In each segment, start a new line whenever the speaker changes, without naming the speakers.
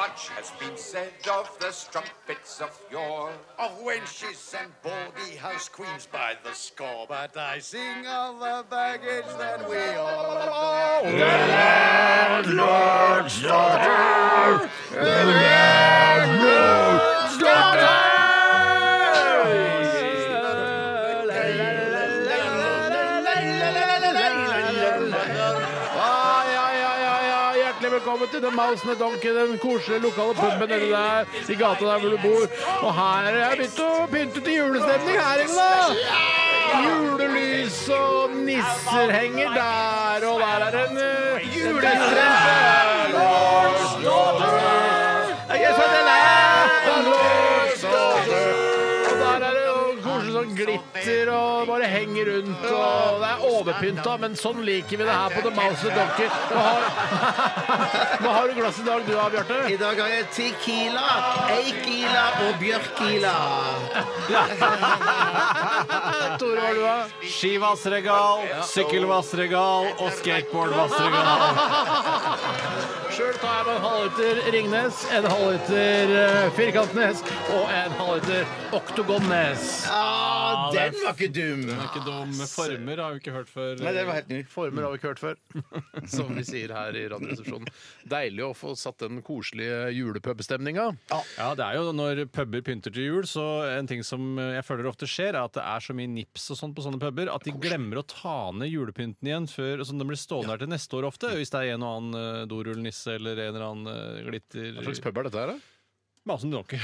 Much has been said of the strumpets of yore, of wenches and baldy house queens by the score. But I sing of the baggage that we all owe.
Ah, ja, ja, ja, ja. Hjertelig velkommen til The Mouse and the Donkey, den koselige lokale puben nedi der i gata der hvor du bor. Og her er jeg begynt å pynte til julestemning her inne, da. Julelys og nisser henger der, og der er en uh, julestrømpe. Jeg sa det Og der er det jo koselig sånn glitter og bare henger rundt. Og det er overpynta, men sånn liker vi det her på The Mouse and Donkey. Hva har, hva har du i glass i dag du da, Bjarte?
I dag har jeg tequila, eikila og bjørkila.
Tore, hva har du da?
Skivassregal, sykkelvassregal og skateboardvassregal.
Sjøl tar jeg meg en halvliter Ringnes, en halvliter eh, Firkantnes og en halvliter Oktogonnes.
Ah, den var ikke dum!
Ikke
Ah,
dumme former har vi ikke hørt før.
Nei, den var helt ny.
Former har vi ikke hørt før, som vi sier her i Radioresepsjonen. Deilig å få satt den koselige julepubstemninga.
Ja, det er jo Når puber pynter til jul, så en ting som jeg føler ofte skjer, er at det er så mye nips og sånt på sånne puber at de glemmer å ta ned julepynten igjen før sånn den blir stående her til neste år ofte. Hvis det er en og annen eh, dorullnisse eller en eller annen eh, glitter
Hva slags pub er dette her, da?
Masen Donkey.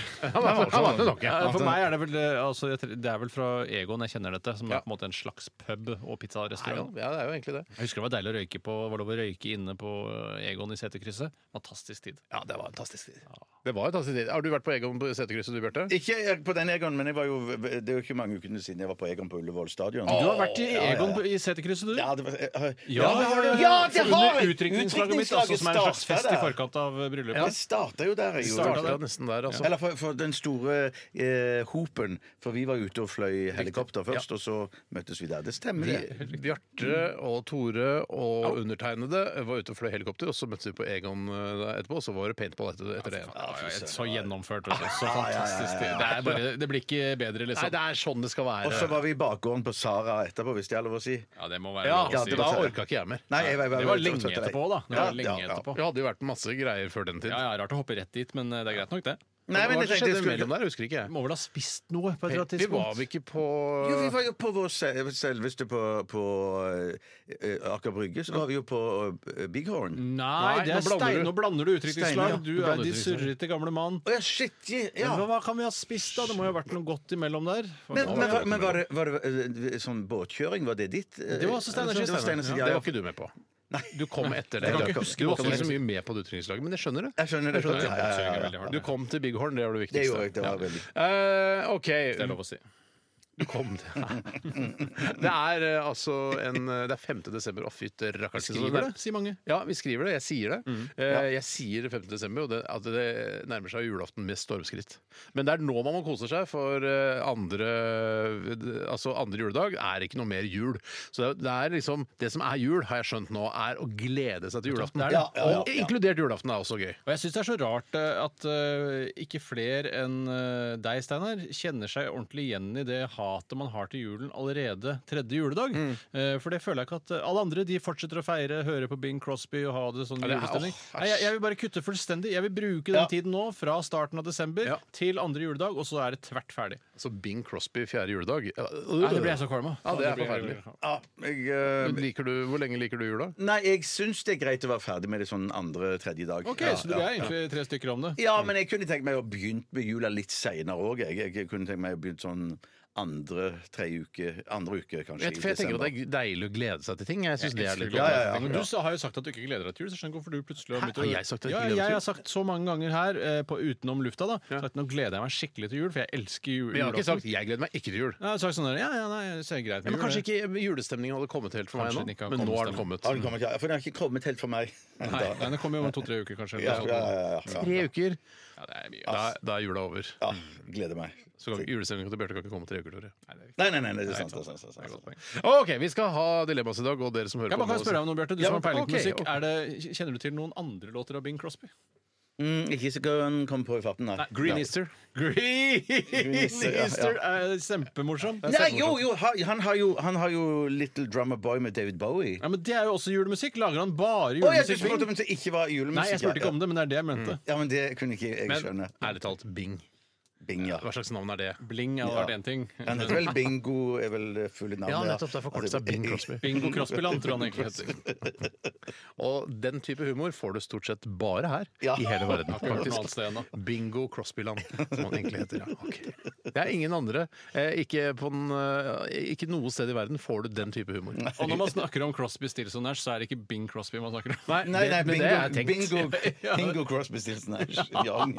Ja, for meg er det vel eh, altså, jeg tre- Det er vel fra Egon jeg kjenner dette, som
Ja.
er på en måte en slags pub og pizzarestaurant.
Ja, det er jo egentlig det.
Jeg husker det var deilig å røyke på Var lov å røyke inne på eh, Egon i seterkrysset. Fantastisk tid.
Ja, det var en fantastisk tid. Det var en fantastisk tid. Har du vært på Egon på Seterkrysset, du, Bjarte?
Ikke jeg- på den Egon, men jeg var jo, det er jo ikke mange ukene siden jeg var på Egon på Ullevål stadion.
Du har vært i
Ja, ja, ja.
Egon på- i seterkrysset, du?
Ja, det var, jeg, har-
Ja, det har du.
Ja, det har
Under
jeg!
utrykningslaget mitt, altså, som er en slags
startet
fest i
der.
forkant av eh, bryllupet.
Det starta jo der. Jeg
Startet
gjorde.
nesten der, altså.
Eller for, for den store eh, hopen, for vi var ute og fløy helikopter først, og så møttes vi der. Det stemmer, det.
Bjarte og Tore og undertegnede var ute og fløy helikopter, og så møttes vi på Egon eh, etterpå, og så var det paintball etter, etter det igjen.
Ja, ja, Så gjennomført. Også. Så fantastisk. tid. Det, er bare, det blir ikke bedre,
Nei,
liksom.
det er sånn det skal
Og
være.
så var vi i bakgården på Sara etterpå, hvis det er lov å si.
Ja, det må være
Ja,
lov å
ja,
si.
det
da
var-
orka ikke jeg mer.
Nei, jeg, jeg, jeg,
Det var lenge etterpå, da. Det var lenge etterpå.
Vi hadde jo vært masse greier før den tid.
Ja, ja, Rart å hoppe rett dit, men eh, det er greit nok, det.
Nei, men
Hva
jeg tenkte jeg
skjedde
skulle
mellom der? Jeg Husker ikke jeg.
Må vel ha spist noe på et eller annet
Vi var
tidspunkt.
vi ikke på
Jo, vi var jo på vår se- selveste på, på eh, Aker Brygge, så var vi jo på eh, Big Horn.
Nei, det er
Nei, nå blander
stein.
du.
Nå blander du
Steiner, ja.
utrykningslag. Du
Nå
er
blander
de
du utrykningslag.
surrete gamle mann.
Å ja, shit! je-
Men
Ja.
hva kan vi ha spist, da? Det må jo ha vært noe godt imellom der.
Men, men, var- men var det, var det eh, sånn båtkjøring? Var det ditt? eh,
Det var også Steinar
det var Steiner,
Steiner.
Det
ja,
var
ja.
ikke du med på. Du kom etter det.
Jeg kan
Du
ikke huske
var ikke
båtturen.
så mye med på det utrykningslaget, men jeg skjønner det.
Jeg skjønner det.
Jeg
Ja, ja, ja, ja.
veldig
Du
hardt.
kom til Big Horn, det var det viktigste.
Det gjorde jeg. Det var veldig
Eh, OK.
Det er lov å si.
Du kom Det er eh, altså en eh, Det er 5. desember. Å, fytti rakkeren.
Skriver det, sier mange.
Ja, vi skriver det. Jeg sier det.
Mm.
Eh, Jeg sier 5. desember, og det, at det nærmer seg julaften med stormskritt. Men det er nå man må kose seg, for eh, andre Altså andre juledag er ikke noe mer jul. Så det er- det er liksom Det som er jul, har jeg skjønt nå, er å glede seg til julaften.
Det er det.
Ja, ja, ja.
Og inkludert julaften er også gøy.
Og jeg syns det er så rart eh, at eh, ikke flere enn eh, deg, Steinar, kjenner seg ordentlig igjen i det hatet man har til julen allerede tredje juledag.
Mm.
Eh, for det føler jeg ikke at eh, alle andre de fortsetter å feire, høre på Bing Crosby og ha det sånn
det er-
julestemning.
åh,
Nei, jeg, jeg vil bare kutte fullstendig. Jeg vil bruke den tiden nå, fra starten av desember
Ja.
til andre juledag, og så er det tvert ferdig.
Altså Bing Crosby fjerde juledag. øh,
Nei, det blir jeg så kvalm av.
Ja, det er
blir jeg-
forferdelig.
Ja, jeg, eh,
Men Liker du, hvor lenge liker du jula?
nei, jeg syns det er greit å være ferdig med det sånn andre-tredje dag.
OK,
Ja,
så du
ja.
er egentlig tre stykker om det.
Ja, men jeg kunne tenkt meg å begynt med jula litt seinere òg. Jeg, jeg kunne tenkt meg å begynt sånn andre, tre uke, andre uke kanskje.
Jeg,
i
for jeg tenker
desember.
at det er deilig å glede seg til ting. Jeg synes det er litt
Ja, ja, ja.
Men du sa- har jo sagt at du ikke gleder deg til jul. Så jeg skjønner ikke hvorfor du plutselig har
Hæ?
begynt å
Har jeg sagt at
ja,
jeg ikke gleder meg til
jeg
jul?
har sagt så mange ganger her eh, på, utenom lufta da sagt, Nå gleder jeg meg skikkelig til jul, for jeg elsker jul.
Men jeg har ikke
julaften.
sagt 'jeg gleder meg ikke til jul'.
Nei, jeg har sagt sånn der, ja, ja, nei, det ser greit
Ja,
jul,
men kanskje
det.
ikke julestemningen hadde kommet helt for
Kanskje den
meg
ikke
nå.
har
Men nå har den
kommet,
kommet.
Ja, den kommer ikke- For den har ikke kommet helt for meg.
Nei,
ennå.
nei, det kommer jo om to-tre uker, kanskje.
Ja, ja,
eller noe sånt.
ja, ja, ja.
Tre uker,
Ja, det er mye.
da, er- da er jula over.
ja. Gleder meg.
Så kan- julestemningen til Bjarte kan ikke komme tre uker, Tore.
Nei, nei, nei, nei, det er sant. Det er sant, det er sant, det er sant.
OK, vi skal ha dilemmas i dag, og dere som hører
Jeg bare
på
kan
nå-
spørre deg om noe, Bjarte. Du
Ja,
som har
men-
peiling på
ok,
musikk.
ok.
Er det, kjenner du til noen andre låter av Bing Crosby?
Mm, ikke så kan komme på i farten, nei.
Green
Nei.
Easter.
Green
Easter, ja, ja.
Easter er kjempemorsom.
Nei, jo, jo, ha- han har jo, han har jo Little Drummer Boy med David Bowie.
Ja, men Det er jo også julemusikk. Lager han bare
Å, jeg skulle
julemusikk?
spurt om det ikke var julemusikk.
Nei, jeg spurte ikke om det, men det er det jeg mente.
Mm.
Ja, men det kunne ikke jeg
Men
skjønne.
ærlig talt, Bing.
Bing, ja.
Hva slags navn er det?
Bling hadde
Ja.
vært én ting.
Han heter vel Bingo, er vel det fulle navnet. Altså,
Ja, nettopp. Det er forkortelse av Bing Crosby.
Bingo Crosbyland, tror jeg han egentlig heter.
Og den type humor får du stort sett bare her
Ja.
i hele verden.
Jeg har ikke hørt noe
faktisk.
annet sted ennå.
Bingo Crosbyland, som han egentlig heter. Ja, ok. Det er ingen andre. Eh, ikke, på den, eh, ikke noe sted i verden får du den type humor.
Og når man snakker om Crosby, Stills og Nash, så er det ikke Bing Crosby man snakker om.
Nei, nei,
men det er
bingo,
tenkt.
bingo, bingo Crosby, Stills Nash, Young.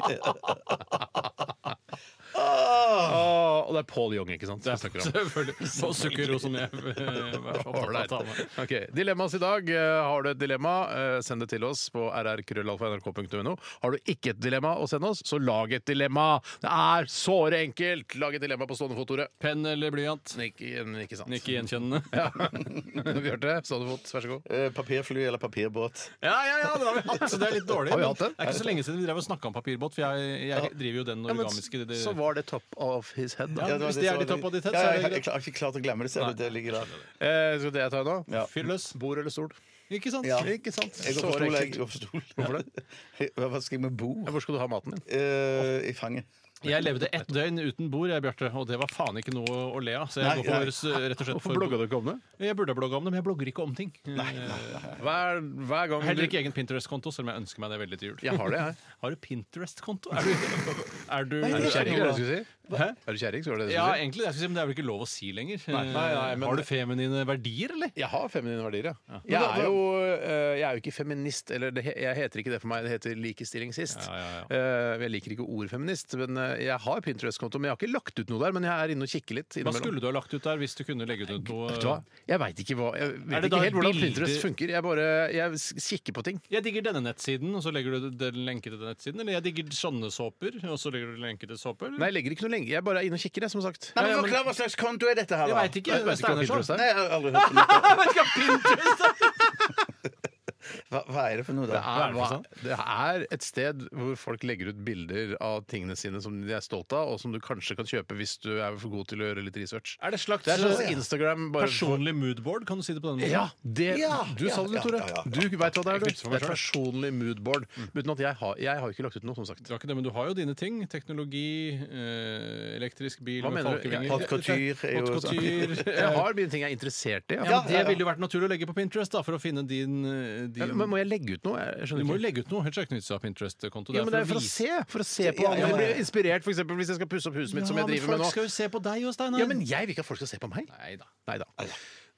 Åh, og det er Paul Young, ikke sant?
Det er
vi snakker om.
selvfølgelig Så Sukkero som jeg eh, var så opptatt
Ålreit.
av.
Ok, Dilemmas i dag. Eh, Har du et dilemma, eh, send det til oss på rrkrøllalfa.nrk.no. Har du ikke et dilemma å sende oss, så lag et dilemma! Det er såre enkelt! Lag et dilemma på stående fot, Tore.
Penn eller blyant?
Ikke, ikke sant?
Ikke gjenkjennende.
Ja. Bjarte, stående fot, vær så god.
Eh, Papirfly eller papirbåt.
Ja, ja, ja, det har vi hatt, så det er litt dårlig.
Har vi
men
hatt den?
Det er ikke så lenge siden vi drev og snakka om papirbåt, for jeg, jeg driver jo den origamiske det,
så var det top of his head, da.
Ja,
var
hvis det er
som
de
var-
toppa di
Ja,
tett,
jeg,
så er
jeg,
det greit.
har ikke klart å glemme det, ser du. Det ligger der.
Eh, skal det jeg ta nå?
Ja.
Fyr løs.
Bord eller stol?
Ikke sant?
Ja.
Ikke sant?
Jeg går for
Såre
stol, jeg. jeg
enkelt.
går for stol. Hva hva skal jeg med
Ja,
bord?
Hvor skal du ha maten din?
Eh, I fanget.
Jeg levde ett døgn uten bord, jeg, Bjarte, og det var faen ikke noe å le av. Så
Nei,
jeg går for, s- rett og slett for
du ikke om det?
Jeg burde ha blogga om det, men jeg blogger ikke om ting.
Hver, hver gang
Heller ikke egen Pinterest-konto, selv om jeg ønsker meg det veldig til jul.
Jeg har det, jeg.
Har du Pinterest-konto? Er du, er du,
Er du kjerring, er det det du skulle si?
Hæ?
Er du kjerring, skal det det du
Ja,
skulle si?
egentlig, jeg skulle si, men det er vel ikke lov å si lenger. Eh,
Nei, nei, nei, men-
Har du feminine verdier, eller?
Jeg har feminine verdier, ja. Jeg er jo, øh, jeg er jo ikke feminist, eller det, he- jeg heter ikke det for meg, det heter likestilling sist.
Ja, ja,
Eh, Jeg liker ikke ordet feminist, men øh, jeg har Pinterest-konto, men jeg har ikke lagt ut noe der, men jeg er inne og kikker litt
Hva
innimellom.
skulle du ha lagt ut der hvis du kunne legge ut noe
Vet du hva? Jeg veit ikke, hva, jeg
Er
vet
det da
ikke helt hvordan
bilder-
Pinterest funker. Jeg bare jeg s- kikker på ting.
Jeg digger denne nettsiden, og så legger du den lenke til den nettsiden. Eller jeg digger sånne såper, og så legger du lenke til såper.
Nei, jeg legger ikke noe lenge. Jeg bare er inne og kikker, jeg, som sagt.
Nei,
Ja,
men
ja,
Forklar hva slags konto er dette her,
jeg
da?
veit ikke.
Jeg vet ikke hva
Steinar
Pinterest
sa.
er.
Nei, jeg har aldri hørt om det.
Jeg vet ikke hva Pinterest er!
Hva, hva er det for noe, da?
Det er,
Hva er det
det er et sted hvor folk legger ut bilder av tingene sine som de er stolt av, og som du kanskje kan kjøpe hvis du er for god til å gjøre litt research.
Er det slags
Det er sånn Instagram bare
personlig moodboard? Kan du si det på den måten?
Ja, det,
Ja,
du sa det,
ja,
Tore.
ja, ja, ja.
Du veit hva det er, du.
Jeg fikk det for meg
Det er personlig moodboard. Uten at jeg har, jeg har ikke lagt ut noe, som sagt.
Det var ikke det, men du har jo dine ting. Teknologi, eh, elektrisk bil
Hva
med
mener du?
falkevinger.
Ja,
haute couture er jo
Haute
sånn.
couture.
Jeg har mine ting jeg er interessert i.
eh, Ja,
Ja.
men det ville jo vært naturlig å legge på Pinterest da, for å finne din, eh,
Ja,
din
Men må jeg legge ut noe? Jeg
Du
skjønner
må jo
ikke.
legge ut noe. Helt ikke av Pinterest-konto.
Ja, men det er for å
vise-
se. For å se på
Ja, ja,
andre. Jeg
ja.
blir inspirert, f.eks. hvis jeg skal pusse opp huset mitt, som
Ja,
jeg
men
driver med nå.
Folk skal jo se på deg jo, Steinar.
Ja, men jeg vil ikke at folk skal se på meg.
Nei da.
Nei da.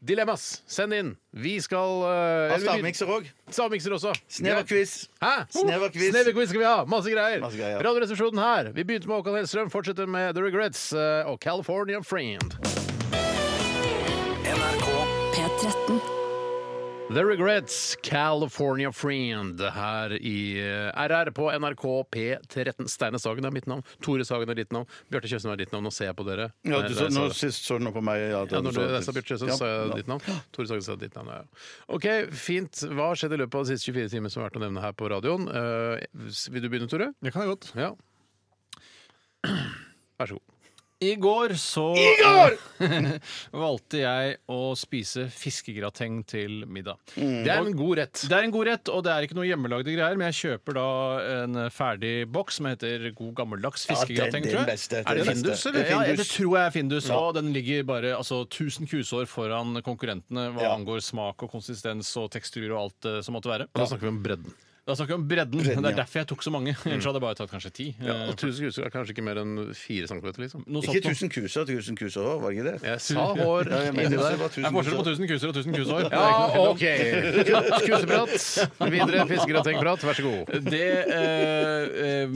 Dilemmas, send inn. Vi skal uh,
Stavmikser òg.
Stavmikser også.
Snever quiz.
Hæ?
Snever quiz.
Sneverquiz skal vi ha! Masse greier.
Masse greier, ja.
Radioresepsjonen her. Vi begynte med Håkan Hellstrøm, fortsetter med The Regrets eh, og California Friend.
NRK
P13.
The Regrets, California Friend, her i eh, RR på NRK P13. Steine Sagen er mitt navn. Tore Sagen er ditt navn. Bjarte Tjøstheim er ditt navn. Nå ser jeg på dere.
Eh,
Ja, du
Nei,
så,
jeg sa
nå
det.
sist så du nå på meg. Ja,
Ja, når du
så-
jeg sa Bjarte Tjøstheim,
Ja,
sa jeg
ja.
ditt navn. Tore Sagen sa ditt navn. Ja. ja. OK, fint. Hva har skjedd i løpet av de siste 24 timer som har vært å nevne her på radioen? Eh, vil du begynne, Tore?
Det kan jeg godt.
Ja. Vær så god.
I går så valgte jeg å spise fiskegrateng til middag.
Det er en god rett.
Det er en god rett, og det er ikke noe hjemmelagde greier, men jeg kjøper da en ferdig boks som heter God gammeldags
Ja, det-
fiskegrateng,
det er
tror jeg.
den beste, det er
er det
den beste.
Findus, eller?
Det er
Ja, det
Findus.
tror jeg er Findus. Og den ligger bare altså, 1000 kusår foran konkurrentene hva
Ja.
angår smak og konsistens og tekstur og alt eh, som måtte være.
Da snakker vi om bredden.
Da snakker vi om bredden.
Bredden,
det
ja.
er
Mm.
derfor jeg tok så mange. Ellers hadde jeg bare tatt kanskje ti.
Ja,
Eh,
og 1000 kuser er kanskje ikke mer enn 4 cm, liksom.
noe sånt
Ikke
noe.
1000 kuser, 1000 kuser år, var det ikke det?
Jeg sa hår
Ja, jeg mener
inni
det
der.
var
Det er
1000
forskjell på
kuser.
1000 kuser og 1000 kusår. Det er ikke noe
Ja,
tvil om.
OK. Kuseprat. Videre fiskegratengprat. Vær så god.
Det eh, eh,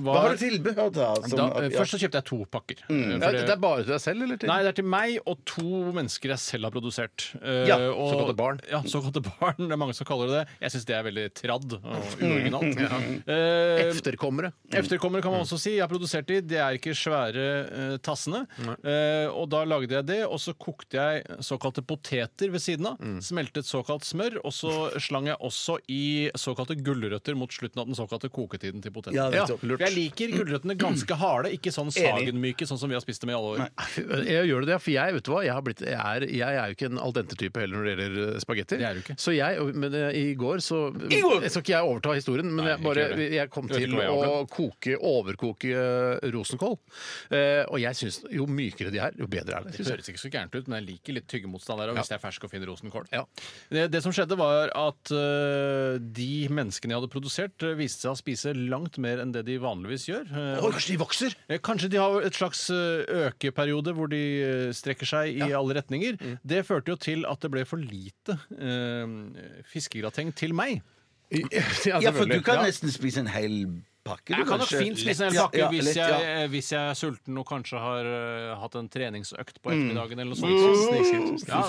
var
Hva har du tilbehør da? Som,
da, eh,
ja. Mm.
Først så kjøpte jeg to pakker. Eh,
Ja,
for
dette er bare til deg selv, eller? til?
Nei, det er til meg og to mennesker jeg selv har produsert. Eh,
Ja,
og-
såkalte barn.
Ja, såkalte barn. Det er mange som kaller det det. Jeg syns det er veldig tradd og uoriginalt. Eh,
Efterkommere.
Mm.
Efterkommere kan man også si. Jeg har produsert de. De er ikke svære eh, tassene. Eh, og da lagde jeg det, og så kokte jeg såkalte poteter ved siden av.
Mm.
Smeltet såkalt smør, og så slang jeg også i såkalte gulrøtter mot slutten av den såkalte koketiden til potetene.
Ja,
Ja,
nettopp.
for jeg liker gulrøttene ganske harde, ikke sånn sagenmyke sånn som vi har spist dem i alle år.
Jeg gjør det, for jeg vet du hva, jeg, har blitt, jeg, er, jeg er jo ikke en al dente-type heller når det gjelder eh, spagetter.
Det er du ikke.
Så jeg, men eh, i går så Jeg skal ikke jeg overta historien, men
Nei,
jeg, bare,
ikke gjør det.
jeg kom
Jeg vet
til
ikke hva jeg
å
har
koke, overkoke eh, rosenkål. Eh, og jeg syns jo mykere de er, jo bedre er det.
Det
synes jeg.
høres ikke så gærent ut, men jeg liker litt tyggemotstand der. Og hvis jeg er fersk og fin rosenkål.
Ja.
Det, det som skjedde, var at øh, de menneskene jeg hadde produsert, øh, viste seg å spise langt mer enn det de vanligvis gjør. Eh, og-
kanskje de vokser?
Eh, Kanskje de har et slags eh, økeperiode hvor de eh, strekker seg i alle retninger. Det førte jo til at det ble for lite eh, fiskegrateng til meg.
Ja,
ja, for du
selvfølgelig.
kan
Ja.
nesten spise en hel pakke. du,
Jeg kan nok
kanskje.
fint spise en
Lett.
pakke
Ja, ja,
hvis,
lett,
jeg,
ja.
eh, hvis jeg er sulten og kanskje har eh, hatt en treningsøkt
Mm.
på ettermiddagen eller noe sånt. Ja,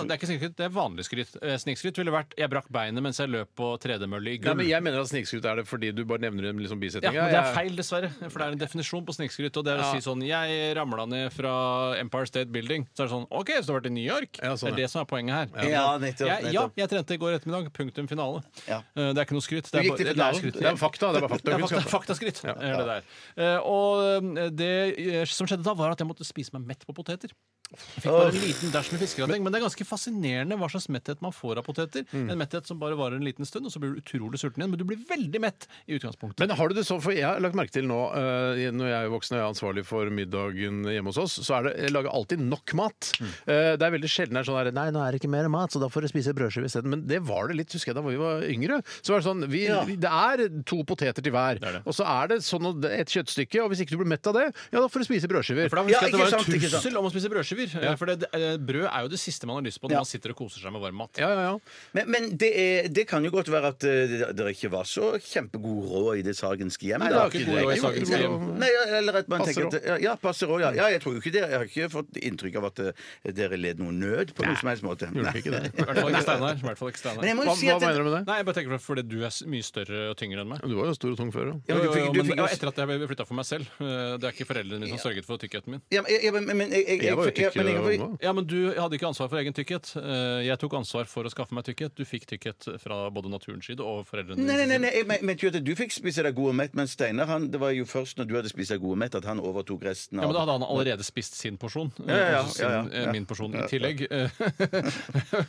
det er ikke snikskryt, det er vanlig skryt. Eh, Snikskryt ville vært 'jeg brakk beinet mens jeg løp på tredemølle i
Nei, men
gull'.
jeg mener at snikskryt er det fordi du bare nevner en liksom
Ja,
bisetning.
men Det er
Jeg-
feil, dessverre. For det er en definisjon på snikskryt. Og det er å
Ja.
si sånn 'Jeg ramla ned fra Empire State Building'. Så er det sånn 'OK, så du har vært i New York'.
Ja, sånn,
det er
ja.
det som er poenget her.
Ja, nettopp,
Jeg, ja,
nettopp.
jeg trente i går ettermiddag. Punktum finale.
Ja.
Eh, Det er ikke noe skryt. Det
Du
er,
gikk til
bare, det er
finalen.
skryt.
Det er fakta. Det er bare fakta.
Det er
vi skal
fakta,
ha.
faktaskritt. er det der. Eh, og eh, det eh, som skjedde da, var at jeg måtte spise meg mett på poteter. Jeg fikk bare en liten dash med fiskegrateng, men det er ganske fascinerende hva slags metthet man får av poteter.
Mm.
En metthet som bare varer en liten stund, og så blir du utrolig sulten igjen. Men du blir veldig mett i utgangspunktet.
Men har du det sånn, for jeg har lagt merke til nå, eh, når jeg er voksen og jeg er ansvarlig for middagen hjemme hos oss, så er det, jeg lager alltid nok mat. Eh, det er veldig sjelden det er sånn her, nei, nå er det ikke mer mat, så da får du spise brødskive isteden. Men det var det litt, husker jeg, da vi var yngre. Så var det sånn, vi, vi- det er to poteter til hver, og så er det sånn og- et kjøttstykke, og hvis ikke du blir mett av det, ja, da får du spise brødskiver.
For da husker
Ja,
jeg
ikke
at det var
sant,
en
ikke sant.
trussel om å spise brødskiver. eh, For det, eh, brød er jo det siste man har lyst på når man sitter og koser seg med varm mat.
Ja, ja, ja.
Men, men det, er, det kan jo godt være at eh, dere ikke var så kjempegod råd i det sagenske hjem.
Nei,
da.
det var ikke det.
Jo,
Sagens
jo,
hjem.
Nei, eller at man
Passer
tenker at, ja, passer råd, ja. ja. Jeg tror jo ikke det. Jeg har ikke fått inntrykk av at eh, dere led noen nød på noen som helst måte.
Gjorde
Nei.
du ikke det?
I hvert fall ikke Steinar. i hvert fall ikke
Men jeg
Steinar.
må
Hva,
jo si
hva
at det-
mener du med det?
Nei, jeg bare tenker på fordi du er s- mye større og tyngre enn meg.
Du var jo stor og tung før,
Ja, men du
Jo,
da.
jo,
fikk-
jo,
du
men
fikk
det var
også-
etter at jeg flytta for meg selv. Eh, Det er ikke foreldrene mine som sørget for tykkheten min.
Ja, men, ja, men, men jeg, jeg,
Jeg var jo tykk
men jeg-
og ung, da.
Ja, men Du hadde ikke ansvar for egen tykkhet. Eh, Jeg tok ansvar for å skaffe meg tykkhet. Du fikk tykkhet fra både naturens side og foreldrene
Nei, nei,
dine.
nei, nei, jeg men- mente jo at du fikk spise deg god og mett, men Steinar han, det var jo først når du hadde spist deg god og mett, at han overtok resten av
Ja, men Da hadde han allerede spist sin porsjon. eh,
ja, ja,
og sin,
ja, ja.
eh, Min porsjon i tillegg. Eh,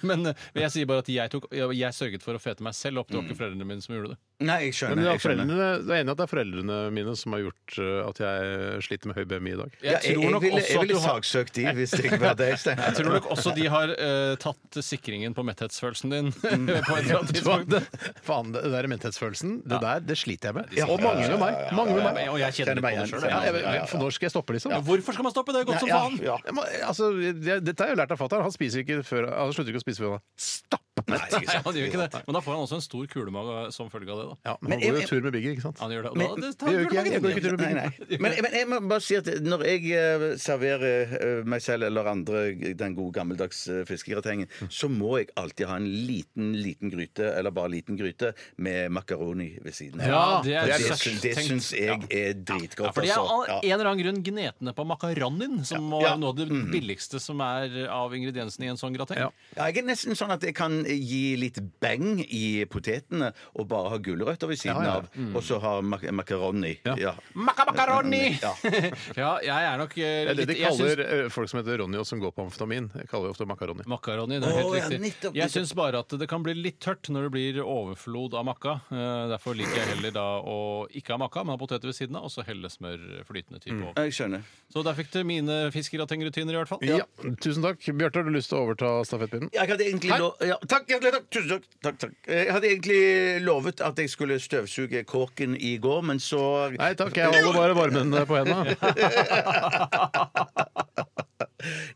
men, eh, men jeg sier bare at jeg, tok, jeg, jeg sørget for å fete meg selv opp. Det var
Mm.
ikke foreldrene mine som gjorde det.
Nei, jeg skjønner.
Men det er,
jeg skjønner.
foreldrene, det er enig at det er foreldrene mine som har gjort eh, at jeg sliter med høy BMI i dag.
Ja, jeg,
tror
jeg,
nok
ville,
også
jeg
at
ville
du har-
saksøkt de hvis det ikke var deg, Steinar.
Jeg tror nok også de har eh, tatt sikringen på metthetsfølelsen din. på
Mm.
et eller annet tidspunkt.
Faen, det der menthetsfølelsen, det der, det sliter jeg med.
Ja,
Og mange med meg. Mange med
Ja,
meg.
men- Og jeg kjenner litt på det sjøl.
Ja, jeg, jeg, for når skal jeg stoppe, liksom?
Hvorfor skal man stoppe det? Godt som faen!
Jeg må, altså, jeg, dette har jeg jo lært av fatter'n. Han spiser ikke før Han slutter ikke å spise før han er stappmett.
Nei, han gjør ikke det. Men da får han også en stor kulemage som følge av det. da
Ja, men han
jeg-
går jo
jeg-
tur med Bigger, ikke sant?
Han gjør det, og
Men-
da, det
det
tar
gjør ikke jeg. Jeg går
kulemage
ikke tur
din.
med
Nei, nei. Men, men jeg må bare si at når jeg eh, serverer eh, meg selv eller andre den gode gammeldags eh, fiskegratengen,
Mm.
så må jeg alltid ha en liten, liten gryte, eller bare liten gryte, med makaroni ved siden av.
Ja, det er
For det,
søtt
syns- det
tenkt.
syns jeg er
Ja,
dritgodt,
for de er av
altså.
en eller annen grunn gnetne på makaronin, som må
Ja.
være noe av det billigste som er av ingrediensene i en sånn grateng.
Ja.
Ja, jeg er nesten sånn at jeg kan gi litt beng i potetene og bare ha gulrøtter ved siden
Ja, ja.
av,
Mm.
og så ha mak makaroni. Ja.
Maca-macaroni!
Ja.
ja, jeg er nok eh,
Det er det de
litt jeg syns-
kaller eh, folk som heter Ronny og som går på amfetamin. Jeg kaller jo ofte makaroni.
Makaroni, det er helt
Å, ja,
riktig.
nettopp,
jeg
nettopp.
syns bare at det kan bli litt tørt når det blir overflod av makka. Eh, Derfor liker jeg heller da å ikke ha makka, men ha poteter ved siden av, og så helle smør flytende type over.
Jeg skjønner.
Så der fikk du mine fiskegratengrutiner i hvert fall.
Ja, Tusen takk. Bjarte, har du lyst til å overta stafettpinnen?
Jeg hadde egentlig
Hei.
lov ja, takk, hjertelig takk. Tusen takk. takk, takk. Jeg hadde egentlig lovet at jeg skulle støvsuge kåken i går, men så
Nei takk, jeg holder bare varmen eh, på henda.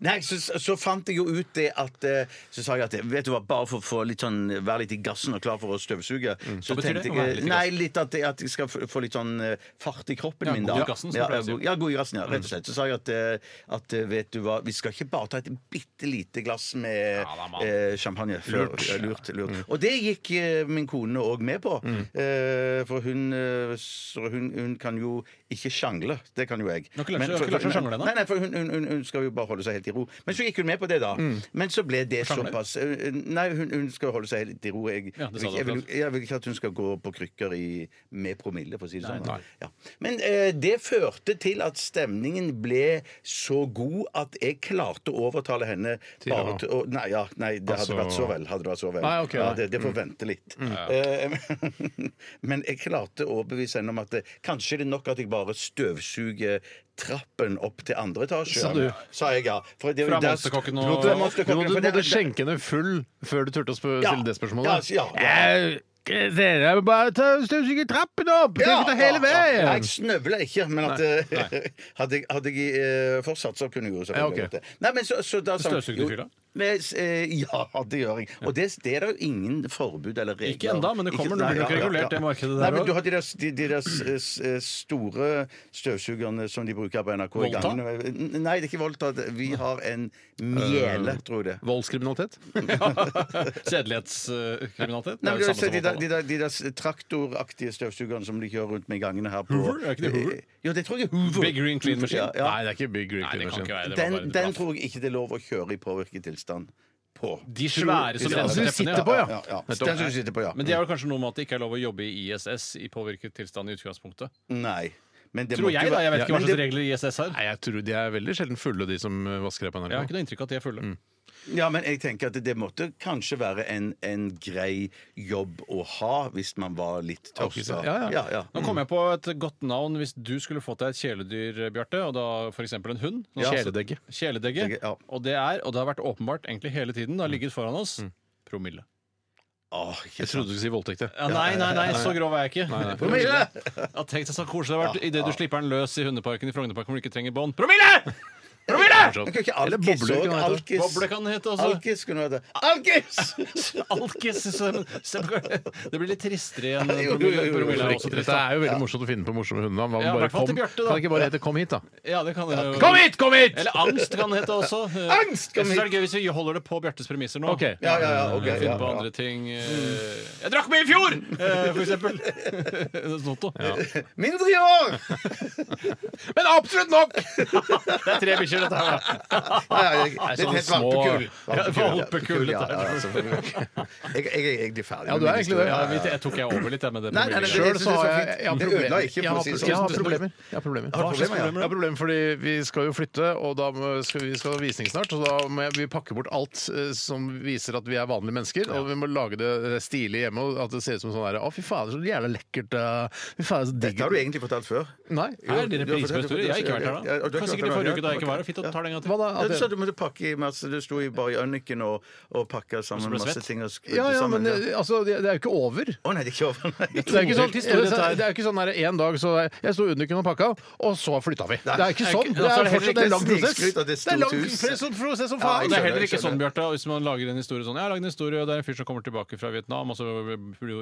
Nei, så, så fant jeg jo ut det at eh, Så sa jeg at vet du hva, bare for å få litt sånn, være litt i gassen og klar for å støvsuge så
Mm. Hva betyr det, å være litt i
Jeg, nei, litt at, jeg- at jeg skal få få litt sånn eh, fart i kroppen
Ja,
min.
god
da
i gassen, som
ja,
du pleier å si. Mm.
god- ja, god i gassen, ja, rett og slett. Så sa jeg at, eh, at eh, vet du hva, vi skal ikke bare ta et bitte lite glass med
Ja, da, mann. Mm.
eh, champagne. Før, lurt. Ja, lurt, lurt. Og det gikk eh, min kone òg med på. Eh, for hun, eh, så hun, hun kan jo ikke sjangle. Det kan jo jeg.
Nå har ikke lært
Men
seg-
for-
har ikke lært seg å
for-
sjangle ennå.
Nei, nei, for hun, hun, hun, hun skal jo bare holde seg helt i ro. Men så gikk hun med på det, da. Men så ble det
Sjangle?
såpass eh, Nei, hun, hun skal holde seg helt i ro. Jeg,
Ja, det sa du
jeg, vil,
akkurat.
jeg vil ikke at hun skal gå på krykker i, med promille, for å si det sånn.
nei.
Ja. Men eh, det førte til at stemningen ble så god at jeg klarte å overtale henne
Til å-
bare til å Nei, ja, nei, det hadde
Altså-
vært så vel. Hadde det vært så vel.
Nei, ok,
ja,
nei.
det, det får vente litt. Eh, Men jeg klarte å overbevise henne om at det, kanskje det er nok at jeg bare støvsuger trappen opp til andre etasje.
Sa du?
Sa jeg, ja. For det,
Fra
der-
monsterkokken og-
Du
Fra
måtte, du
monsterkokken, for det-
måtte skjenke henne full før du turte å sp-
Ja.
stille det spørsmålet.
Ja, ja,
Eh, Dere må bare ta støvsuge trappen opp! Dere kan ta hele
ja.
veien!
Jeg snøvla ikke, men at, eh, hadde, jeg- hadde jeg eh, fortsatt, så kunne jeg jo selvfølgelig
Ja, ok.
gjort det. Nei, men så, så da sa hun-
Støvsugde du fyr da?
men, eh, ja, det gjør jeg. Og det, det er det jo ingen forbud eller regler
Ikke enda, men det
Ikke-
kommer. Nå
nei,
blir det nok
ja, ja,
regulert,
ja.
det
Nei,
markedet der
men
også.
Du har de der, de, de der s- s- s- store støvsugerne som de bruker på NRK i
Volta?
gangene. Nei, det er ikke Volta. det- Vi har en
Eh,
mjele, tror jeg det.
Voldskriminalitet?
Sedelighetskriminalitet?
Nei, men du har
det
sett de
som
der,
voldtekt,
de, der, de der traktoraktige støvsugerne som de kjører rundt med i gangene her på Eh,
Hoover? Er ikke det Hoover?
Jo, det tror jeg er Hoover.
Big Green Clean
Ja,
Machine?
ja.
Nei, det er ikke Big Green
Nei, det kan
Clean
ikke være det. var bare
Den, den
et blaff.
tror jeg ikke det er lov å kjøre i påvirket tilstand på. altså,
De svære som
Ja,
renser
som du
teppene,
sitter på, ja.
Ja, ja. Den
Nettopp.
som du sitter på, ja.
Men det er vel kanskje noe med at det ikke er lov å jobbe i ISS i påvirket tilstand i utgangspunktet?
Nei. Men det
Tror
måtte
jeg,
jo
da.
være-
Jeg vet
Ja,
ikke hva
men
slags
det-
regler i ISS har.
Nei, jeg tror de er veldig sjelden fulle, de som eh, vasker her på
Jeg har
NRK.
ikke noe inntrykk av at de er
Mm.
fulle.
Ja, men jeg tenker at det måtte kanskje være en, en grei jobb å ha hvis man var litt tørst. da.
Ja, ja.
Nå kom jeg på et godt navn hvis du skulle fått deg et kjæledyr, Bjarte. Og da f.eks. en hund. Nå-
Ja. altså, Kjæledegge.
Kjæledegge.
Degge, ja.
Og det er, og det har vært åpenbart egentlig hele tiden, det har ligget foran oss, promille.
Åh, ikke
Jeg trodde du skulle si voldtekt. jeg.
Ja, nei, nei, nei, så grov er jeg ikke. Promille! Ja, tenk deg så koselig det har vært idet du slipper den løs i hundeparken i Frognerparken hvor du ikke trenger bånd. Promille! Promille!
sant. Men kan ikke
Eller
Alkis
boble,
også?
kunne det hete.
Alkis.
Boble kan det hete også.
Alkis kunne det hete. Alkis!
Alkis. så- så- Det blir litt tristere igjen.
Jo, jo, jo,
Promille,
jo.
promille er også trist.
Dette
da.
er jo veldig morsomt å finne på morsomme hundenavn. Hva om
Ja, i
bare
hvert fall
kom-
til Bjarte, da.
Kan det ikke bare hete 'Kom hit', da?
Ja, det kan det jo.
Kom hit, kom hit!
Eller angst kan det hete også.
Angst kan
Jeg synes det er
hete.
gøy hvis vi holder det på Bjartes premisser nå.
Ok.
Ja, ja, ja. ok,
Finne
ja,
på
ja.
andre ting. eh, Jeg drakk mye i fjor! eh, For eksempel. Sånn Sånt noe.
Mindre i år!
Men absolutt nok!
Det er tre bikkjer, dette her. da.
Ja, ja, jeg-
Nei,
Det er
sånne
et helt
små-
valpekull.
Ja, valpekull,
ja,
dette
ja,
er-
ja, selvfølgelig. jeg, jeg, jeg er egentlig ferdig.
Ja,
med min
du er egentlig
historie.
det.
Ja,
Ja,
ja, ja.
vi- Jeg tok jeg over litt, jeg, med det.
Nei, nei, nei,
problemet.
det-
Sjøl
synes
så
jeg
har
er så
jeg,
fint.
jeg har
Det
problemer.
ødela ikke, for
Jeg
å
har-
si det sånn.
jeg har
Tusen
problemer. Jeg har problemer.
Har du problemer, ja?
Jeg har problemer fordi vi skal jo flytte, og da må- skal vi vi skal ha visning snart. Og da må jeg, vi pakke bort alt eh, som viser at vi er vanlige mennesker. Og vi må lage det eh, stilig hjemme, og at det ser ut som sånn her Å, fy fader, så jævla lekkert. eh, Fy fader, så digg.
Dette har du egentlig fortalt før.
Nei.
Her er
Du
det
har
reprise på
fortalt-
historie. Jeg har ikke vært her
Ja, ja, og du
da.
har ikke vært
Kanskje ikke i
her da.
forrige uke da jeg ikke var her. Fint
Ja.
å ta den en gang til.
Hva da?
Ja,
At
du
det-
sa du måtte pakke i masse Du sto i bare i øyniken og, og pakka sammen
ble
masse
svett.
ting. Og skru
ja, ja,
sammen,
men eh, altså, det, det er jo ikke over.
Å nei, det er ikke over. Nei.
Det er jo ikke sånn,
Todelt historie,
det
dette her.
er jo ikke sånn der, en dag så er- Jeg sto under kunne pakka, og så flytta vi. Det er ikke
Nei,
sånn.
ikke-
Det er
altså, det er heller
fortsatt det
ikke
er lang prosess.
snikskryt at det er
Det er lang
stort hus.
prosess- prosess som
Ja,
faen.
Det er heller
Jeg
ikke
skjønner.
sånn, Bjarte, hvis man lager en historie sånn Jeg har lagd en historie, og det er en fyr som kommer tilbake fra Vietnam, og så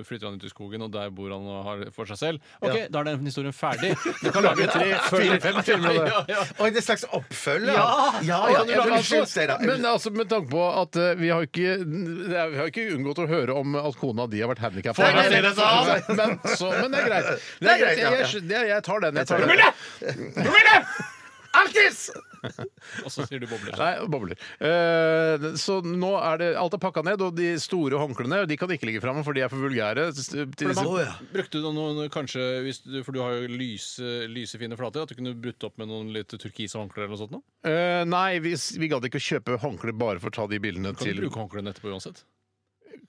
flytter han ut i skogen, og der bor han og har for seg selv. OK, da er den historien ferdig. Du kan lage tre, fire, fem filmer av det. Ja, ja.
Oi, det er en slags oppfølger?
Ja!
ja,
Ja,
ja.
kan du
ja,
lage-
Unnskyld,
altså,
Steinar.
men altså, med tanke på at eh, vi har jo ikke, det er- vi har jo ikke unngått å høre om at kona di har vært handikappa.
For å si det sånn!
Men, så, men det er greit. Det
Nei,
er greit
ja,
jeg,
ja.
jeg, jeg, jeg tar den. Jeg tar den.
Promille! Promille!
Alkis!
Og så sier du bobler.
Nei, bobler. Eh, så nå er det Alt er pakka ned, og de store håndklærne de kan ikke ligge framme, for de er for vulgære. Til disse
Å, ja.
Brukte du noen kanskje, hvis du, for du har jo lyse, lyse fine flater, at du kunne brutt opp med noen litt turkise håndklær eller noe sånt? nå?
Eh, nei, vi, vi gadd ikke å kjøpe håndkle bare for å ta de bildene
Kan du
til
bruke håndklærne etterpå uansett?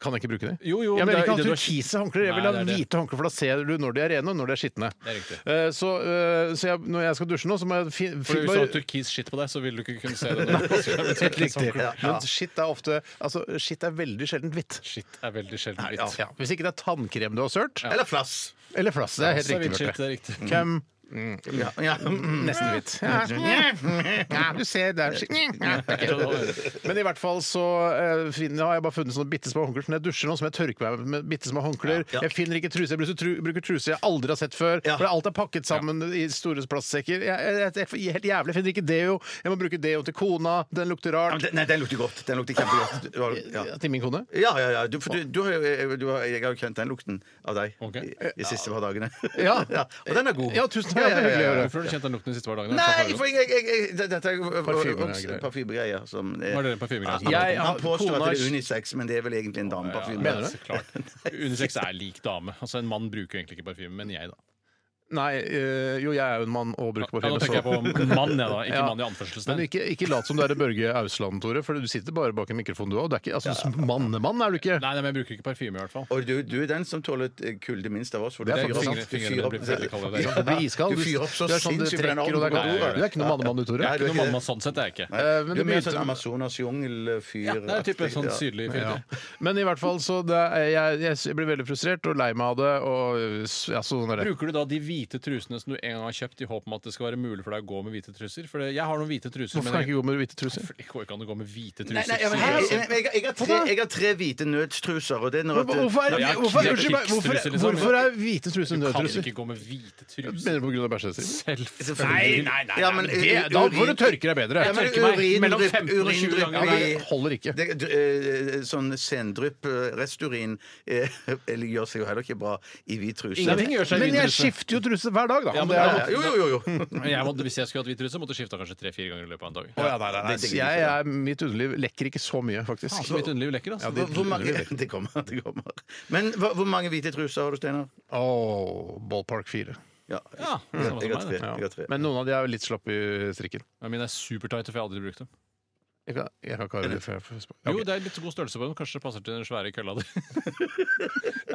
Kan jeg ikke bruke det?
Jo, jo,
jeg
men det
vil
er
ikke
i det
ha
du har-
turkise håndklær. Jeg vil
Nei,
ha
det er det.
hvite håndklær, for da ser du når de er rene, og når de er skitne.
Det er riktig.
Eh, Så, eh, så jeg, når jeg skal dusje nå, så må jeg fin-
For
fin-
hvis du hadde turkis skitt på deg, så ville du ikke kunne se det. når du passer deg.
Helt riktig. Men skitt er ofte Altså, skitt er veldig sjeldent hvitt.
Skitt er veldig sjelden
Ja.
hvitt.
Ja. Hvis ikke det er tannkrem du har sølt,
Eller flass.
eller flass. Det er helt
Så er
riktig.
hvitt skitt,
Bjarte.
det er riktig.
Hvem
Ja, ja. mm,
Nesten hvitt. Ja, du ser der Men i hvert fall så eh, finner, har jeg bare funnet sånne bitte små håndklær. Så når jeg dusjer nå, så må jeg tørke meg med bitte små håndklær.
Ja.
Jeg finner ikke truse. Jeg bruker, tru, bruker truse jeg aldri har sett før.
Ja.
For alt er pakket sammen i store plastsekker. Jeg, jeg, jeg, jeg, helt jævlig. Jeg finner ikke deo. Jeg må bruke deo til kona. Den lukter
Ja, men
rart.
den- Nei, den lukter godt. Den lukter kjempegodt. Du har- Ja.
Til min kone.
Ja, ja, ja. Du, for du, du, har jo- eh, du har, jeg har jo kjent den lukten av deg
Ok.
i, de siste par dagene.
Ja.
Og den er god.
Ja, tusen takk. Det er hyggelig å høre.
Hvorfor har du kjent den lukten de siste par dagene?
Nei, for jeg, jeg, jeg det- Dette er jo-
Parfymegreier.
parfymegreier. som er-
Var det parfymegreier som
Han-
er
han-
Jeg har-
Han påstår
kona-
at det er unisex, men det er vel egentlig en dameparfyme.
Mener du?
Så klart. Unisex er lik dame. Altså En mann bruker egentlig ikke parfyme, men jeg, da.
Nei, eh, jo, jeg er jo en mann og bruker
Ja, nå
parfyme.
tenker jeg på
så-
mann, jeg, da. Ikke
Ja.
mann i
Men
anførselstegn.
ikke, ikke lat som du er i Børge Ausland, Tore, for du sitter bare bak en mikrofon du òg. Altså, Mannemann er du ikke.
Nei, nei, men jeg bruker ikke parfyme, i hvert fall.
Og du, du er den som tåler eh, kulde minst av oss. For du
Det er
fyrer
sant.
opp-
Fingrene
fyrer opp-
blir veldig kalde der.
Ja,
Du blir iskald.
Du fyrer opp så
du er sånn du
sinnssykt på den
trekker, og det er
ovnen.
ikke, du er ikke noe mannemann, du, Tore.
Nei,
Ikke
du er
noe
ikke
mann,
det.
mann sånn sett er jeg ikke.
Du
Eh, men
er
det
mer
begynte
sånn Amazonas jungelfyr.
Ja, det er type sånn sydlig fyr.
ja. Men i hvert fall så det, er- jeg, jeg, jeg blir veldig frustrert og lei meg av det. Og, ja, sånn er det.
Bruker du da de hvite trusene som du en gang har kjøpt, i håp om at det skal være mulig for deg å gå med hvite truser? For det- jeg har noen hvite truser,
Hvorfor kan jeg
men jeg,
ikke gå med hvite truser?
for det går ikke an å gå med hvite
Nei,
truser.
nei, jeg, jeg,
sier jeg
jeg, jeg, jeg, har tre, jeg har tre hvite nødstruser, og det er når at
Hvorfor er,
Nei, jeg-
hvorfor,
det er
unnskyld meg, hvorfor,
krigstruser, liksom.
hvorfor er hvete truser
sånn. Kan
nødtruser?
ikke gå med hvite truser.
Mener du på grunn av bæsjestriden?
Selvfølgelig.
Ja, men eh,
Det- Da får du
urin-
tørke deg bedre.
Ja, men
tørke meg
urin-
mellom
drypp-
15 og 20
urindrypp
ganger.
Ja,
i-
det holder ikke.
Det, d- eh, sånn sendrypp, eh, resturin, eh, eller gjør seg jo heller ikke bra i hvit truse.
Ingenting gjør seg i
Men
hvite
jeg
truser.
skifter jo truse hver dag, da.
Ja,
om
men
det
da-
er
Ja, ja, Jo, jo, jo. jo.
Men jeg måtte, hvis jeg skulle hatt hvit truse, måtte jeg skifta kanskje tre-fire ganger i løpet av en dag.
Å, ja, nei, nei, nei.
Det digger
Jeg
jeg ikke,
er, mitt underliv lekker ikke så mye, faktisk.
Så mitt underliv lekker, altså.
Hvor, hvor mange, det kommer, det kommer. Men hvor, hvor mange hvite truser har du, Steinar?
Åh, ballpark 4.
Ja,
Ja, det er samme
jeg har
som
tre.
meg,
Jeg har tre.
Men noen av de er jo litt slapp i strikken.
Ja, Mine er supertighte, for jeg har aldri brukt dem.
Jeg kan, jeg kan ikke ha det før jeg får smak.
Jo,
Ok.
det er litt god størrelse på dem. Kanskje det passer til den svære kølla di.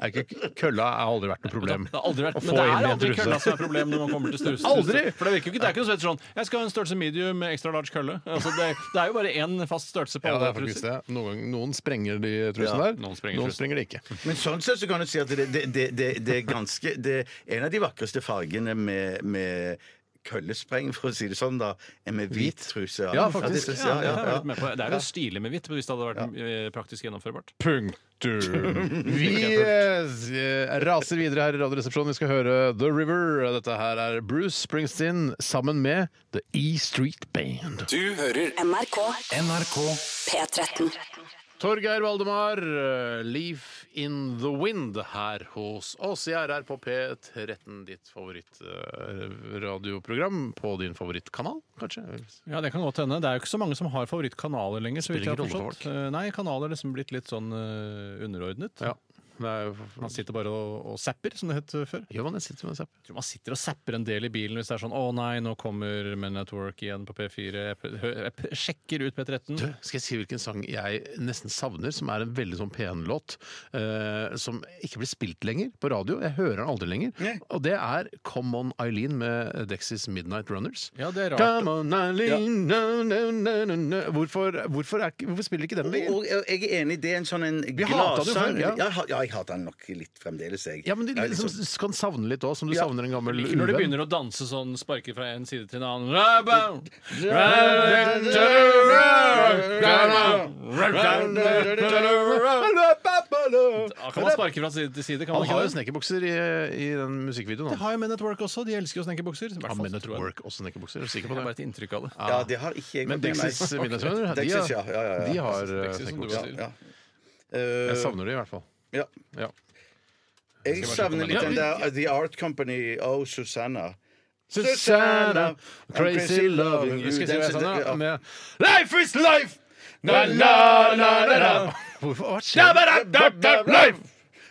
Er ikke- Kølla har aldri vært noe problem.
Det har aldri vært,
Å
men det
få
er
inn i en
aldri
truse.
kølla som er problemet når man kommer til strus.
Aldri!
For det virker jo ikke, det er ikke noe som heter sånn Jeg skal ha en størrelse medium med extra large kølle. Altså, det, det er jo bare én fast størrelse på
Ja, det
alle
er faktisk
truser.
det. Noen, gang- noen sprenger de trusene der.
noen sprenger trusen.
sprenger de ikke.
Men sånn sett så kan du si at det, det, det, det, det er ganske Det er en av de vakreste fargene med, med køllespreng, for å si det sånn, da, er med hvit truse.
Ja,
det
faktisk.
synes
Ja,
jeg, ja,
det er jeg
ja.
litt med på. Det er jo stilig med hvitt, hvis det hadde vært eh, praktisk gjennomførbart.
Punktum. Vi eh, raser videre her i Radioresepsjonen. Vi skal høre The River. Dette her er Bruce Springsteen sammen med The E Street Band.
Du hører
NRK
NRK
P13.
Torgeir Valdemar, eh, 'Leaf in the Wind', her hos oss i RR på P13. Ditt favorittradioprogram på din favorittkanal, kanskje?
Ja, Det kan godt hende. Det er jo ikke så mange som har favorittkanaler lenger. så vidt
Spiller
jeg har
ingen rolle for
forstått. Eh, Nei, kanaler er liksom blitt litt sånn eh, underordnet.
Ja. Det er jo
Man sitter bare og, og zapper, som det het eh, før.
Gjør man det? Sitter man og ser på?
Jeg tror man sitter og zapper en del i bilen hvis det er sånn 'Å nei, nå kommer Men at Work igjen på P4'. Jeg, p- hø- jeg p- sjekker ut P13.
Du, Skal jeg si hvilken sang jeg nesten savner, som er en veldig sånn pen låt, eh, som ikke blir spilt lenger på radio? Jeg hører den aldri lenger. Og det er Come On Eileen med Dexys Midnight Runners.
Ja, det er rart.
Come on, Eileen na, na, na, na, na. Hvorfor, hvorfor, er, ikke- hvorfor spiller ikke den lenger?
Og og jeg er enig, det er en sånn en
hatet det jo
gladsang.
før, ja.
Ja. ha- ja, jeg hater den nok litt fremdeles, jeg.
Ja, men de
Jeg er litt sånn-
liksom, s- kan savne litt òg, som du savner en gammel
Ikke når de
uvenn.
begynner å danse sånn, sparker fra en side til en annen Rabba! Da Kan man sparke fra side til side? Kan
Han
man
har jo
ikke det?
snekkerbukser i, i den musikkvideoen.
Det
Han.
har jo Men at Work også. De elsker jo snekkerbukser. I hvert
Ja,
fall,
Men at
tror jeg.
Work også snekkerbukser. er du Sikker
Jeg
på
har bare
det.
et inntrykk av det.
Ja, det har ikke jeg.
Men
gått med meg.
Dexys midnattsvenner, de,
Dexys, ja, ja, ja, ja.
de har eh,
Dexys, som du
snekkerbukser.
sier.
Ja.
Jeg
Eh,
savner det i hvert fall.
ja.
Ja.
Jeg savner litt
Ja,
den
vi-
der uh, The Art Company, Oh Susanna.
Susanna, crazy loving you Skal jeg si hva jeg sa nå? Med Life is life! Na, na, na, na, na. Hvorfor? Hva skjer?
Life!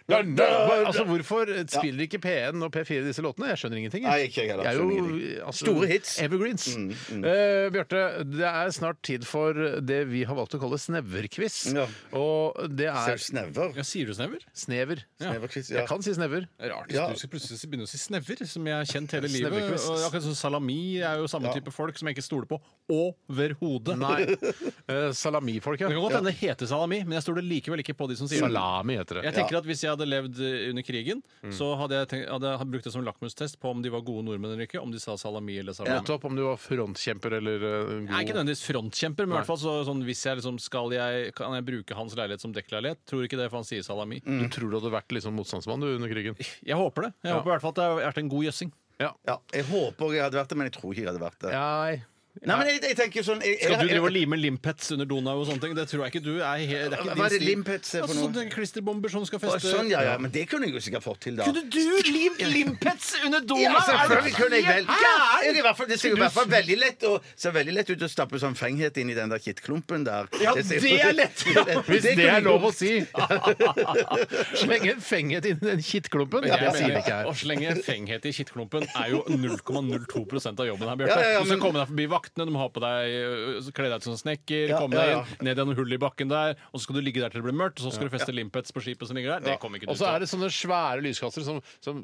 Altså, hvorfor spiller ikke P1 og P4 disse låtene? Jeg skjønner ingenting. jeg.
Nei, ikke jeg heller.
Det er
Skjønner
jo
ingenting.
altså,
Store hits. Mm,
Evergreens. Eh, Bjarte, det er snart tid for det vi har valgt å kalle sneverquiz.
Ja.
Og det er
Selv snever.
Ja, sier du snever?
snever.
Sneverquiz, ja.
Jeg kan si snever.
Det er Rart.
Ja.
Du skal plutselig begynne å si snever, som jeg har kjent hele livet.
Sneverquiz.
Og akkurat som Salami er jo samme
Ja.
type folk som jeg ikke stoler på overhodet.
Nei. Eh, Salamifolk,
Det kan
ja.
godt hende det heter salami, men jeg stoler likevel ikke på de som sier det.
Salami heter det.
Jeg tenker at Hvis jeg hadde levd eh, under krigen, så hadde jeg, tenkt, hadde jeg brukt det som lakmustest på om de var gode nordmenn eller ikke. Om de sa salami eller salami.
Nettopp om du var frontkjemper eller eh, god
Nei, ikke nødvendigvis frontkjemper, men i hvert fall så, sånn, hvis jeg liksom skal jeg, Kan jeg bruke hans leilighet som dekkleilighet? Tror ikke det, for han sier salami.
Mm.
Du tror du hadde vært liksom motstandsmann du under krigen?
Jeg håper det. Jeg
Ja.
håper i hvert fall at det har vært en god jøssing.
Ja.
Ja, jeg håper jeg hadde vært det, men jeg tror ikke jeg hadde vært det.
Nei.
Nei, men jeg, jeg tenker sånn jeg,
Skal du
jeg-
drive og lime limpets under Donau og sånne ting? Det tror jeg ikke du er. he- Det er ikke
Hva er
din
det
stil.
limpets er for
Altså,
noe?
sånne klisterbomber som skal
Å,
feste
Sånn, ja, ja, men det kunne jeg jo sikkert fått til, da.
Kunne du limt limpets under Donau?
Ja,
Er du
selvfølgelig kunne jeg vel.
helt
Ja,
gæren?
jeg, er i hvert fall, det ser jo i hvert fall veldig lett, å- ser veldig lett ut å stappe sånn fenghet inn i den der kittklumpen der.
Ja,
ser-
det er lett.
Hvis det,
kunne
er
jeg
lov å
gjort.
si! Slenge en fenghet inn i den kittklumpen.
Jeg
Det sier
mener,
vi ikke
Å
her.
slenge fenghet i kittklumpen er jo 0,02 av jobben her, Bjarte.
Ja, ja, ja,
Du skal
men-
komme deg forbi vaktene, du må ha på deg øh, kle deg ut som snekker,
Ja,
komme
ja,
deg
ja.
inn, ned gjennom hullet i bakken der, og så skal du ligge der til det blir mørkt, og så skal du feste limpets på skipet som ligger der. Det kommer ikke
Og
du
så er
til.
det sånne svære lyskastere som, som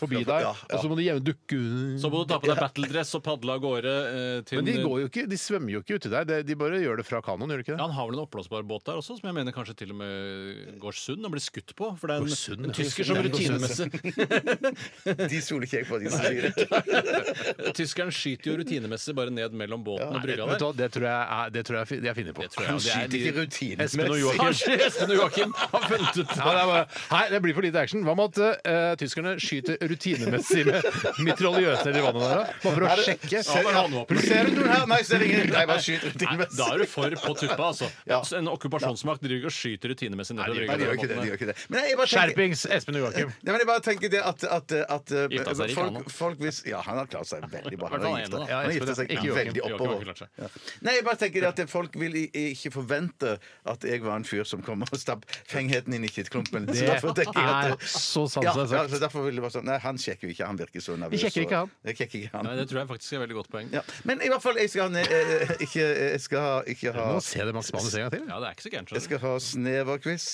forbi deg,
Ja, ja.
og så må de jevne dukke
Så må du ta på deg battledress og padle av gårde eh, til
Men de går jo ikke, de svømmer jo ikke uti der. De- De bare gjør det fra kanoen, gjør de ikke
ja,
det?
Han har vel en oppblåsbar båt der også, som jeg mener kanskje til og med øh, går sund og blir skutt på. For det er en,
sund,
en
ja.
tysker som
Den går sund.
rutinemessig
De stoler ikke jeg på, de som sier det.
Tyskeren skyter jo rutinemessig bare ned mellom båten og brygga
Vet du
der.
hva, det tror jeg er- det tror jeg fin- jeg finner på.
Det tror jeg, og det er
Skyter
de-
ikke rutinen.
Espen og Joakim.
Kanskje Espen og Joakim har funnet ut
Ja, det er bare, Nei, det blir for lite action. Hva med at eh, tyskerne skyter rutinemessig med mitraljøser i vannet der, da? Bare for å sjekke.
Ja, bare håndvåpen.
Ser du noen her? Nei, ser ingen. Nei, bare skyter ut
Nei, da er du for på tuppa, altså.
Ja.
En okkupasjonsmakt driver ikke og skyter rutinemessig ned
Nei, de gjør ikke det. De gjør ikke det. Men jeg bare tenker,
Skjerpings, Espen og Joakim.
Nei, men jeg bare tenker det at, at, at eh,
Gifta seg ikke, han, da.
folk, folk hvis, Ja, han har klart seg veldig bra. Han har
Hvertfall han ene,
gifta
da.
han har
Ja,
gifta seg
ikke Joakim.
veldig
Joakim har ikke
oppover.
klart seg.
Ja. Nei, jeg bare tenker det at folk vil i- ikke forvente at jeg var en fyr som kom og stapp fengheten inn i kittklumpen. Så derfor tenker jeg at
er så sant
ja,
det er
ja,
sagt.
så derfor vil det være sånn Nei, han sjekker jo ikke. Han virker så nervøs.
sjekker ikke
og-
han.
Jeg sjekker ikke
Nei,
han.
det tror jeg faktisk er et veldig godt poeng.
Ja. Men i hvert fall, jeg skal ha ne- eh, eh, ikke, jeg skal ha, ikke ha
Nå se det masse manus en gang til.
Ja, det er ikke så gærent.
Jeg
skjønner du.
skal ha sneverquiz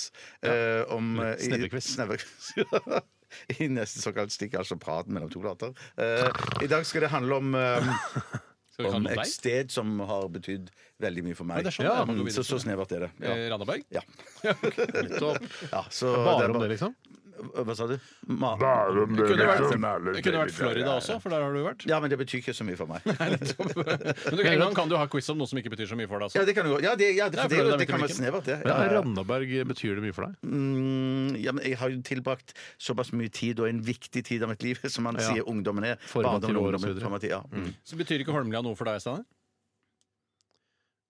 eh, om eh, i-
Snevrequiz.
snevrequiz, ja. I neste såkalt stikk, altså praten mellom to later. Eh, I dag skal det handle om, eh,
Skal
om
vi kalle
et
deg?
sted som har betydd veldig mye for
Ja,
meg.
det er sånn,
ja,
ja, man går
mm,
videre
så,
til
så snevert er det. Ja.
Eh, Randaberg?
Ja. ja, så
Bare
er
om det, liksom?
Hva sa du? Ma
Det liksom kunne vært, det kunne vært Florida også, for der har du vært.
ja, men det betyr ikke så mye for meg.
Men du, en gang kan du ha quiz om noe som ikke betyr så mye for deg.
Ja,
Altså.
det kan jo Ja, det, ja, det,
Nei,
for det, er jo-
Florida
det kan
betyr
være snevert, det.
Men
Ja, ja, ja.
Randaberg, betyr det mye for deg?
Mm, ja, men jeg har jo tilbrakt såpass mye tid, og en viktig tid av mitt liv, som man
Ja.
sier ungdommen er.
Formative
Barndommen,
år og så
ungdommen,
videre.
formative, ja. Mm.
Så betyr ikke Holmlia noe for deg, Steinar?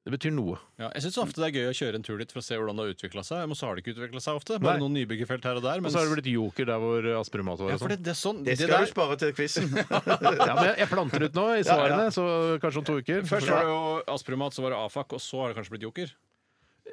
Det betyr noe.
Ja, jeg syns ofte det er gøy å kjøre en tur dit for å se hvordan det har utvikla seg. Men så har det ikke utvikla seg ofte. Bare
Nei.
noen nybyggefelt her og der.
Og
mens-
så har det blitt joker der hvor Aspermat var.
ja,
og
for
sånn.
det, det er sånn
Det
det
skal
der,
du spare til quizen.
Ja, men jeg- jeg planter ut nå i
Ja, ja.
svarene, så kanskje om to uker.
Først var det jo Aspromat, så var det Afak, og så har det kanskje blitt Joker.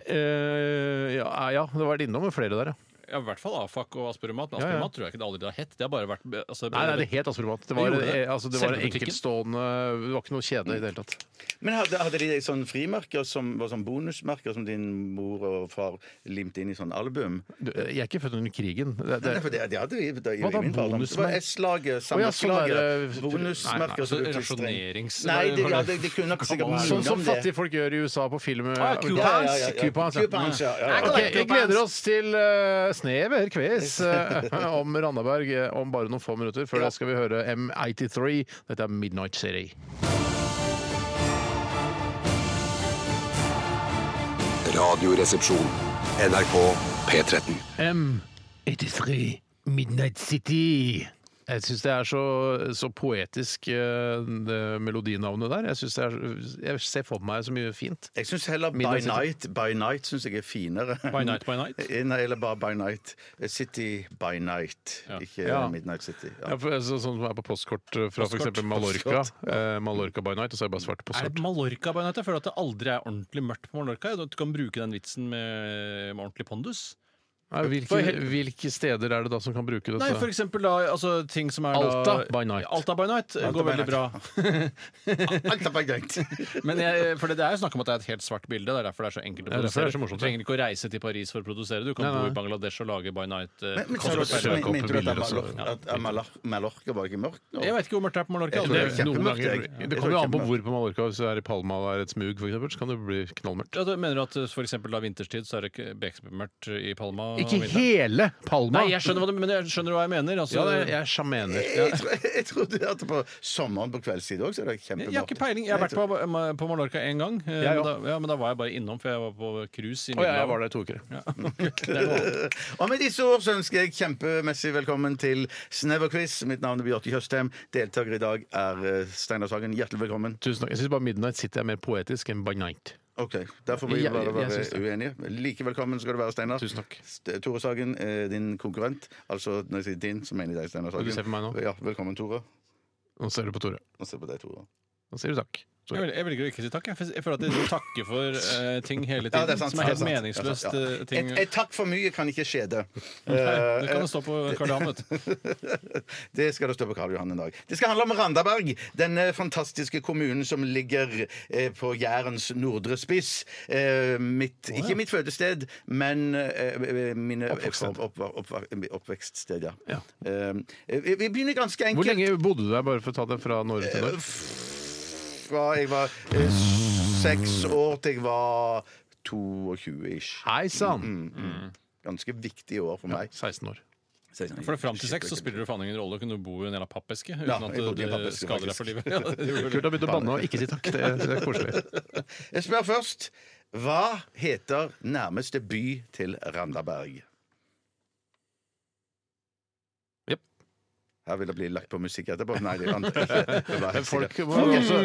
Eh, ja, ja, det har vært innom flere der, ja.
Ja, I hvert fall Afak og Aspromat. Men
Ja, ja.
Aspromat tror jeg ikke det aldri har hett. Det har bare vært altså,
Nei, nei, det het Aspermat. Det var,
Det gjorde det.
eh, altså, det var en
Selve butikken.
enkeltstående Det var ikke noe kjede i det hele tatt.
Men hadde, hadde de sånne frimerker som var sånn bonusmerker som din mor og far limte inn i sånn album?
Du, eh, Jeg er ikke født under krigen. Det,
Nei,
det,
for det, det hadde vi da, i
Hva da,
min barndom. Det var
bonusmerker?
S-laget,
ja, sånn der,
samleslaget.
eh,
Nei, nei,
Bonusmerker som
altså,
du klistret inn.
rasjonerings-
Nei, det, ja, det, det kunne nok sikkert minne
Sånn som
om det.
fattige folk gjør i USA på film.
Ah, ja,
Coupons.
Ja, ja, ja, ja.
Coupons, ja.
Coupons, ja, ja, ja.
Ok, vi gleder oss til eh, Snever Kves eh, om Randaberg eh, om bare noen få minutter. Før det skal vi høre M83. Dette er Midnight City.
Radioresepsjon. NRK P13.
M83 Midnight City. Jeg syns det er så, så poetisk, eh, det melodinavnet der. Jeg, synes det er, jeg ser for meg så mye fint.
Jeg syns heller By
Midnight City.
Night By Night synes jeg er finere.
By Night, By
Eh,
Night?
Eh, Nei, eller bare By Night. Eh, City By Night, ikke
Ja.
Midnight City.
Ja,
Ja.
for, altså, sånn som er på postkort eh, fra f.eks.
Postkort,
Mallorca.
postkort.
Eh, Mallorca by night, og så er det bare svart
Er
postkort.
det Mallorca by night? Jeg føler at det aldri er ordentlig mørkt på Mallorca. Du kan bruke den vitsen med, med ordentlig pondus.
Nei,
For
Hvilke,
helt-
hvilke steder er det da som kan bruke dette?
Nei, for eksempel da altså, ting som er
Alta
da,
by night.
Alta by night eh,
Alta
går
by
veldig bra.
Alt er bare greit.
Men jeg, eh, for det, det er jo snakk om at det er et helt svart bilde. Det er derfor det er så enkelt å
Det er derfor det
produsere.
er så morsomt,
du trenger ikke å reise til Paris for å produsere. Du kan
Nei, nei.
bo i Bangladesh og lage by night. eh,
Men, men, sa du
konserter.
også-
søke opp
mente du at
bilder og så-
Amalor- at Amalor- Mallorca var ikke mørkt? nå?
jeg vet ikke hvor mørkt det er på Mallorca.
Jeg tror
det,
Det,
er
det, noen
kjempemørkt,
ganger,
jeg. Jeg
det
tror
kommer jo an på
kjempemørkt.
hvor på Mallorca. Hvis det er i Palma og er et smug, for eksempel, så kan det bli knallmørkt.
ja, da mener du at eh, for eksempel da vinterstid så er det ikke bekmørkt i Palma? om
Ikke
vinteren?
hele Palma!
Nei, jeg skjønner hva du men jeg skjønner hva jeg mener. Altså,
ja, det, jeg sjamener.
Jeg, tror- jeg trodde at på sommeren på kveldstid òg, så er det
jeg,
kjempemørkt.
har ikke peiling. Jeg har vært på, på Mallorca én gang. eh,
Jeg
men, da,
også.
ja, men da var jeg bare innom, for jeg var på cruise i
Å ja, jeg
Middelhavet.
var der i to uker.
Og med disse ord så ønsker jeg kjempemessig velkommen til Sneverquiz. Mitt navn er Bjarte Tjøstheim. Deltaker i dag er eh, Steinar Sagen. Hjertelig velkommen.
Tusen takk. Jeg syns bare Midnight City er mer poetisk enn By Night.
Ok, Der får vi
Jeg-
bare
jeg- jeg
være
syns det.
uenige. Like velkommen skal du være, Steinar.
Tusen takk.
St- Tore Sagen, eh, din konkurrent. Altså når jeg sier din, så mener jeg deg, Steinar Sagen.
Du ser på meg nå.
Ja, Velkommen, Tore.
Nå ser du på Tore.
Nå ser jeg på deg, Tore.
Nå sier du takk.
Jeg, vel, jeg velger å ikke si takk. Jeg, for jeg føler at jeg takker for eh, ting hele tiden.
Ja, det er sant,
som er helt
det er sant.
meningsløst.
Ja, ja.
eh, ting.
Et, et takk for mye kan ikke skje det. Eh,
det kan jo stå på Karl Johan, vet du.
Det skal det stå på Karl Johan en dag. Det skal handle om Randaberg, denne fantastiske kommunen som ligger eh, på Jærens nordre spiss. Eh, mitt, Ikke mitt fødested, men eh, mine
Oppvekststed.
opp, opp, opp, oppvekststed, ja.
Ja.
Eh, vi, vi begynner ganske enkelt.
Hvor lenge bodde du der, bare for å ta det fra Norge til Norge?
Fra jeg var eh, seks år til jeg var 22-ish.
Hei sann!
Ganske viktige år for meg.
16 år.
For fram til seks så spiller det faen ingen rolle. Kunne du bo i en jævla pappeske uten
Ja,
at
jeg bodde i en
det
pappeske,
skader deg
faktisk.
for livet. Ja, det gjorde det.
Kult å begynne å banne og ikke si takk. Det er, det er koselig.
Jeg spør først Hva heter nærmeste by til Randaberg?
Jep.
Her vil det bli lagt på musikk etterpå. Nei, det kan det var helt
Men folk,
sikkert.
må jo også,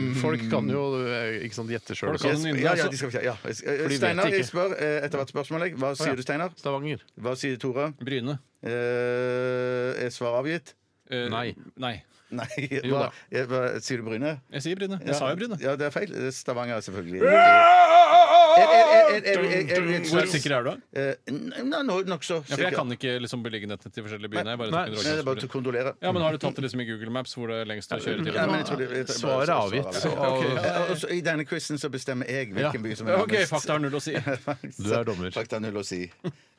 Mm.
folk kan jo eh, ikke sant, gjette sjøl.
Folk kan- nynne,
ja, ja,
altså.
de skal, ja. Eh,
vet
Steinar,
ikke.
jeg spør eh, etter hvert spørsmål. jeg. Hva sier du, Steinar?
Stavanger.
Hva sier Tore?
Bryne.
Eh, er svar avgitt?
Eh,
Nei.
Nei.
Nei.
Jo
Hva,
da.
eh, hva, sier du Bryne?
Jeg sier Bryne. Jeg
Ja.
sa jo Bryne.
Ja, det er feil. Stavanger, selvfølgelig. Er- er- er- er- er- er- er- er-
Hvor sikker er du? da?
Eh, nei, nå- Nokså
Ja, for
sikker.
jeg kan ikke liksom beliggenheten til forskjellige byene. Jeg bare tok
Nei.
Nei,
en
det er bare
rådgivning.
til å kondolere.
Ja, men Har du tatt det liksom i Google Maps hvor det er lengst å kjøre til?
Ja, men jeg tror det- jeg tror det-
Svaret er avgitt. Så,
Ja, og så I denne quizen så bestemmer jeg hvilken
Ja.
by som er liksom
OK,
nærmest.
fakta har null å si.
Du er dommer.
Fakta null å si.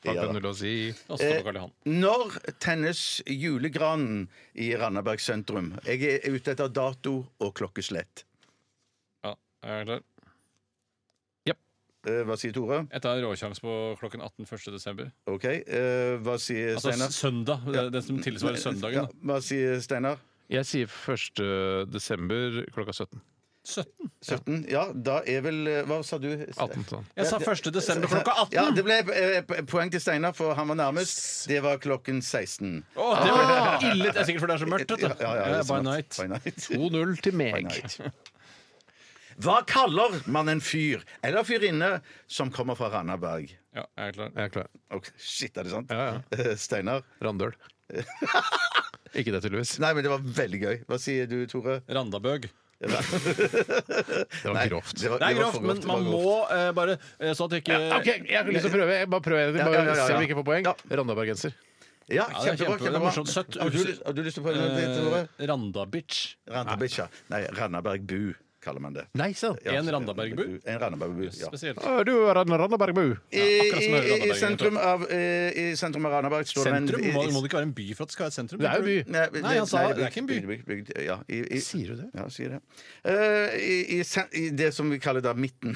Ja,
Takk
da.
for null å si.
Og så står det Karl Johan.
Når tennes julegranen i Randaberg sentrum? Jeg er ute etter dato og klokkeslett.
Ja, jeg er klar.
Eh, Hva sier Tore?
Jeg tar råkjangs på klokken 18 1. desember.
OK. Eh, Hva sier
Altså
Steinar?
søndag. Det, det som tilsvarer
eh, Ja,
søndagen. da.
hva sier Steinar?
Jeg sier 1. desember klokka 17.
17.
17? Ja, da er vel eh, Hva sa du?
18, sånn.
Jeg sa 1. desember klokka 18!
Ja, det ble eh, poeng til Steinar, for han var nærmest. Det var klokken 16.
Å, det var ille! Det er sikkert fordi det er så mørkt.
Ah! Ja,
Vet du.
ja, ja, det er
by
sant.
night.
By night.
2-0 til meg.
Hva kaller man en fyr eller fyrinne som kommer fra Randaberg?
Ja, jeg er klar.
Jeg er klar.
Ok, shit, er det sant?
Ja, ja.
Eh, Steinar?
Randøl. Ikke det, tydeligvis.
Nei, men det var veldig gøy. Hva sier du, Tore?
Randabøg.
Det var
Nei,
grovt.
var,
Det
var
er
for
grovt, men
det var
man
grovt.
må eh, bare eh, Sånn at det ikke
OK, jeg har lyst til å prøve. Jeg bare prøver.
Ja,
Bare
ja, ja, ja.
Se om vi ikke får poeng.
Ja.
Randabergenser.
Ja,
Ja, det er
kjempebra.
kjempe- det er
kjempebra.
morsomt. Søtt.
Har du, lyst- har du lyst til å prøve noe til, Tore?
Eh, Randabitch.
Randabikkja. Nei, Randabergbu kaller man det.
Nei sann!
Ja,
En Randabergbu?
En Randabergbu, ja.
Spesielt.
Du er en Randabergbu.
I,
akkurat
i, i,
som Randabergen,
sentrum av, eh, I sentrum av Randaberg står det en-
Sentrum? Må,
i-
må det ikke være en by for at det skal være et sentrum?
Det er jo by.
Nei,
Nei, han sa det er ikke en by.
bygd- bygd- bygd- ja, i, i,
Sier du det?
Ja, jeg sier det. Eh, i, i, sen- I det som vi kaller da midten.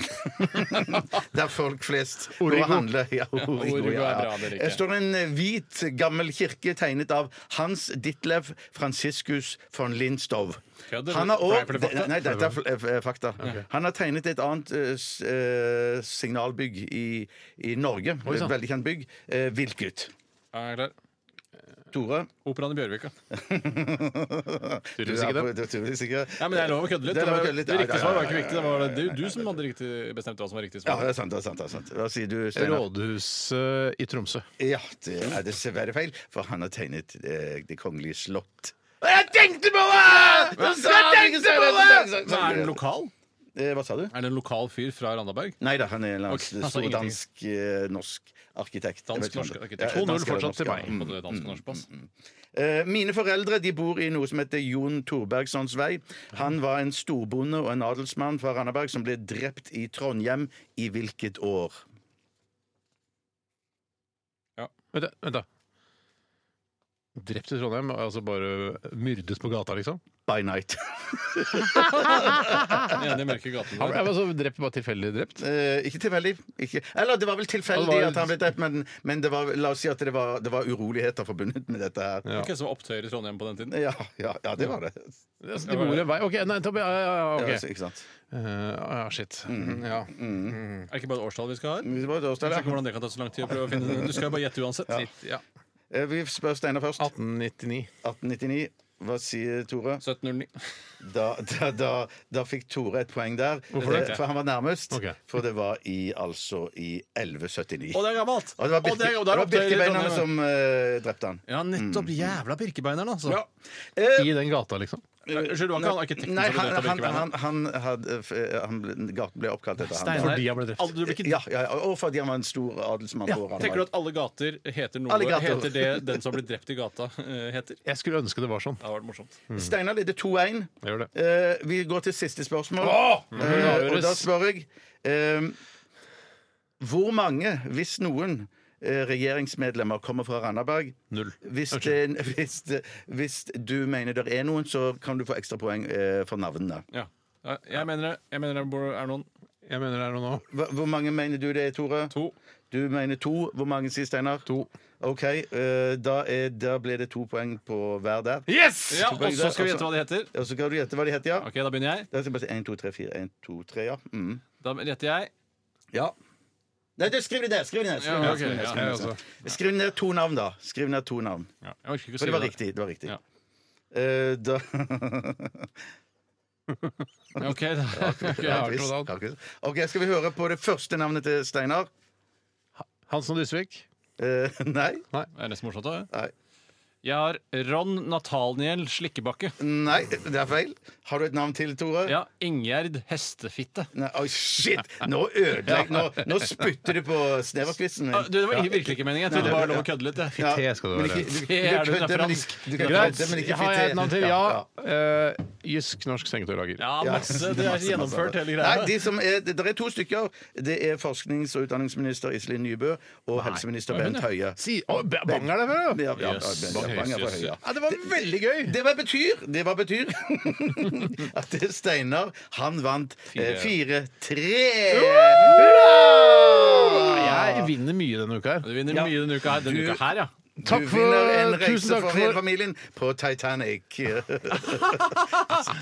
Der folk flest går
Origo.
og handler. Ja, Origo,
Origo er
ja, ja.
bra, det liker jeg.
Eh, står en eh, hvit, gammel kirke tegnet av Hans Ditlev Franciscus von Lindstow.
Kødder du?
Han har
Er det
også,
fakta?
nei, dette er fl- eh, f- fakta. Han har tegnet et annet eh, s- eh, signalbygg i, i Norge. Et
sånn.
sann.
veldig kjent bygg. Eh, Viltgut.
Ja, jeg er klar.
Tore?
Operaen i Bjørvika.
Tydeligvis
Du er
ikke
på- du er tydeligvis ikke det.
Nei, men jeg er lov å kødde litt.
Det er
Det,
lov å
var,
kødde litt,
det
ja,
riktige
ja,
svaret
ja,
var ikke
ja,
viktig. Det var det du, du som hadde riktig, bestemt hva som var
Ja,
riktig
det
svar.
er sant. det er sant, det er sant. Hva sier du, Steinar?
Rådhuset i Tromsø.
Ja, det er dessverre feil, for han har tegnet eh, Det kongelige slott. Jeg tenkte på det! Jeg tenkte på
Men er den lokal?
Eh, Hva sa du?
Er det en lokal fyr fra Randaberg?
Nei da, han er en eller annen
Ok, han sa
stor
ingenting.
dansk-norsk arkitekt. Jeg vet ikke
Dansk-norsk
om det-
arkitekt.
Ja,
2-0
dansk eller
fortsatt til
norsk, ja. Mm.
meg.
På det danske norskpass.
Eh, Mine foreldre de bor i noe som heter Jon Torbergssons vei. Han var en storbonde og en adelsmann fra Randaberg som ble drept i Trondheim i hvilket år?
Vent, da, vent da. Drept i Trondheim? Altså bare myrdet på gata, liksom?
By night.
Den ene i mørke gaten
Ja,
der.
men altså, drept, bare tilfeldig drept?
Eh, ikke tilfeldig. Ikke. Eller det var vel tilfeldig
Det var-
at han ble drept, men, men det var, la oss si at det var, det var uroligheter forbundet med dette her.
Ok, så opptøyer i Trondheim på den tiden.
Ja, ja, ja det var det.
Altså, de bor i en vei OK, nei, Tobias ja, ja, ja,
Ja,
ok.
så- ikke sant?
Eh, ja, shit.
Mm.
Ja.
Er det ikke bare et årstall vi skal ha?
Det var et årstall, ja.
Jeg vet ikke hvordan det kan ta så lang tid å prøve å finne Du skal jo bare gjette uansett.
Ja.
Eh, Vi spør Steinar først.
1899.
1899. Hva sier Tore?
1709.
Da, da, da, da fikk Tore et poeng der.
Hvorfor det?
Eh, For han var nærmest.
Ok.
For det var i, altså i 1179.
Å, det er gammelt!
Og det var,
Å,
birke,
det er- og
det var
der opptøyer i
birkebeinerne
Trondheim.
som eh, drepte han.
Ja, nettopp. Jævla birkebeineren, altså.
Eh.
I den gata, liksom.
Unnskyld, det var ikke han arkitekten
Nei,
som
han,
ble drept av
han,
birkebeineren?
han, han, hadde, eh, han ble, gaten ble oppkalt etter han.
Steinar,
Fordi han ble drept.
aldri- du blir ikke
Ja, ja, ja, og fordi han var en stor adelsmann. på Randaberg.
Tenker du at alle gater heter noe
Alle gater.
Heter det den som blir drept i gata, eh, heter? Det
Jeg skulle ønske det var sånn.
hadde vært morsomt.
Steinar leder 2-1.
Jeg gjør det.
Eh, vi går til siste spørsmål. Eh, og da spør jeg eh, Hvor mange, hvis noen, eh, regjeringsmedlemmer kommer fra Randaberg?
Null.
Hvis, det, hvis, det, hvis du mener det er noen, så kan du få ekstra poeng eh, for navnene.
Ja. Ja, Jeg mener det. Jeg mener det bor- er noen
Jeg mener det er noe nå.
Hva, hvor mange mener du det er, Tore?
to.
Du mener to. Hvor mange sier Steinar? To. OK, eh, da, er, da blir det to poeng på hver der.
Yes!
Ja, og så skal vi gjette hva de heter.
Og så kan du gjette hva de heter, ja.
Ok, Da begynner jeg.
Da skal jeg bare si 1, 2, 3, 4. 1, 2, 3, ja. Mm.
Da gjetter jeg.
Ja. Nei, du, skriv det ned! Skriv det ned, skriv
Ja,
det ned,
ok,
skriv det ned,
ja,
skriv det
altså.
ned.
ja,
Skriv ned to navn, da. Skriv ned to navn.
Jeg orker ikke å
For det
skrive
var riktig. Det var riktig.
Ja.
Eh, da
Ja, Ok, da. Ok, jeg har to navn.
OK, skal vi høre på det første navnet til Steinar?
Hansen og Dysvik.
Eh, nei.
Det er nesten morsomt, da.
Nei.
Jeg har Ron Nathaniel Slikkebakke.
Nei, det er feil. Har du et navn til, Tore?
Ja, Ingjerd Hestefitte.
Nei, oi, shit! Nå ødelegger nå, nå spytter du på sneverquizen
Ah,
min.
Du, Det var ikke- virkelig ikke meningen. Jeg trodde det var lov å kødde litt. jeg.
Ja,
Fité skal det
men
være.
ikke- du- du
Fité er det, hun er
kødder, men
fransk.
ikke- du kan
Greit.
kødde, men ikke
Har jeg
fité.
et navn til?
Ja, ja.
Ja. Eh, Jysk norsk sengetøylager.
Ja,
Ja.
masse. Det er
Masse,
gjennomført,
masse.
hele greia.
Nei, de som er, det, der er to stykker. Det er forsknings- og utdanningsminister Iselin Nybø og helseminister Bent Høie.
Si, å, Ba- Bang er det fra?
Ja, ja, ja,
Jøss.
Bent- ja, Bang er fra
Jøss,
Høie.
jøss.
Ja, det var veldig gøy!
Det var betyr, det var betyr at det er Steinar han vant eh, 4-3.
Jeg
Hurra!
vinner mye denne uka her.
Du vinner mye denne uka her. Denne
Du-
uka her, ja.
Takk
du
for-
vinner en
tusen
reise
takk
for
for-
hele familien på Titanic.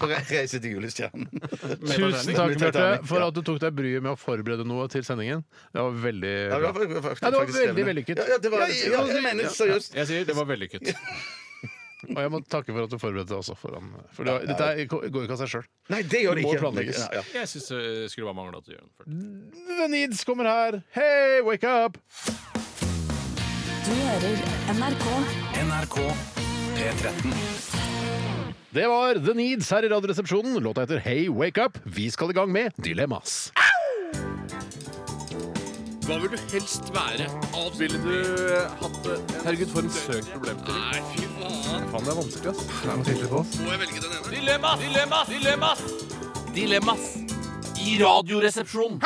på re- reise til julestjernen.
Tusen takk
Med
Bjarte,
Titanic,
for
ja.
at du tok deg bryet med å forberede noe til sendingen. Det var veldig
Ja,
bra.
det var,
Ja, det var
faktisk krevende.
veldig vellykket.
Ja, ja, det var,
Ja,
ja, jeg mener seriøst.
Jeg sier det var vellykket.
Og jeg må takke for at du forberedte deg også. Foran, for det var, dette er- går jo ikke av seg sjøl.
Nei, det gjør det
Det må
ikke.
planlegges.
Ja, ja.
Jeg syns eh, det skulle bare mangle at du gjør den. først.
The Needs kommer her. Hey, wake up!
Du hører NRK.
NRK P13.
Det var The Needs her i Radioresepsjonen. Låta heter Hey, wake up. Vi skal i gang med Dilemmas.
Dilemmas! Dilemmas! Dilemmas! Dilemmas! I radioresepsjonen.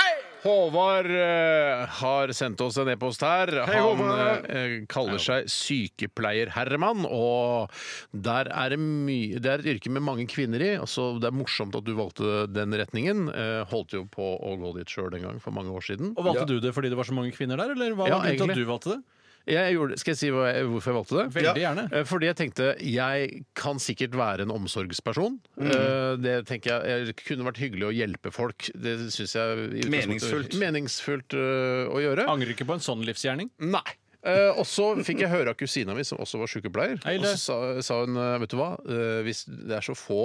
Håvard eh, har sendt oss en e-post her. Han eh, kaller seg sykepleier-Herman, og der er det, mye, det er et yrke med mange kvinner i, så det er morsomt at du valgte den retningen. Eh, Holdt jo på å gå dit sjøl en gang for mange år siden.
Og Valgte du det fordi det var så mange kvinner der, eller hva
Ja,
var grunnen til at
egentlig.
du valgte det?
Jeg gjorde, skal jeg si hva jeg, hvorfor jeg valgte det?
Veldig gjerne.
Eh, Fordi jeg tenkte jeg kan sikkert være en omsorgsperson. Eh, Det tenker jeg, jeg kunne vært hyggelig å hjelpe folk. Det syns jeg i utgangspunktet-
Meningsfullt.
meningsfullt eh, å gjøre.
Ah, Angrer ikke på en sånn livsgjerning.
Nei. Eh, Eh, og så fikk jeg høre av kusina mi, som også var sykepleier,
Hei,
og så sa, sa hun eh, Vet du hva, Eh, hvis det er så få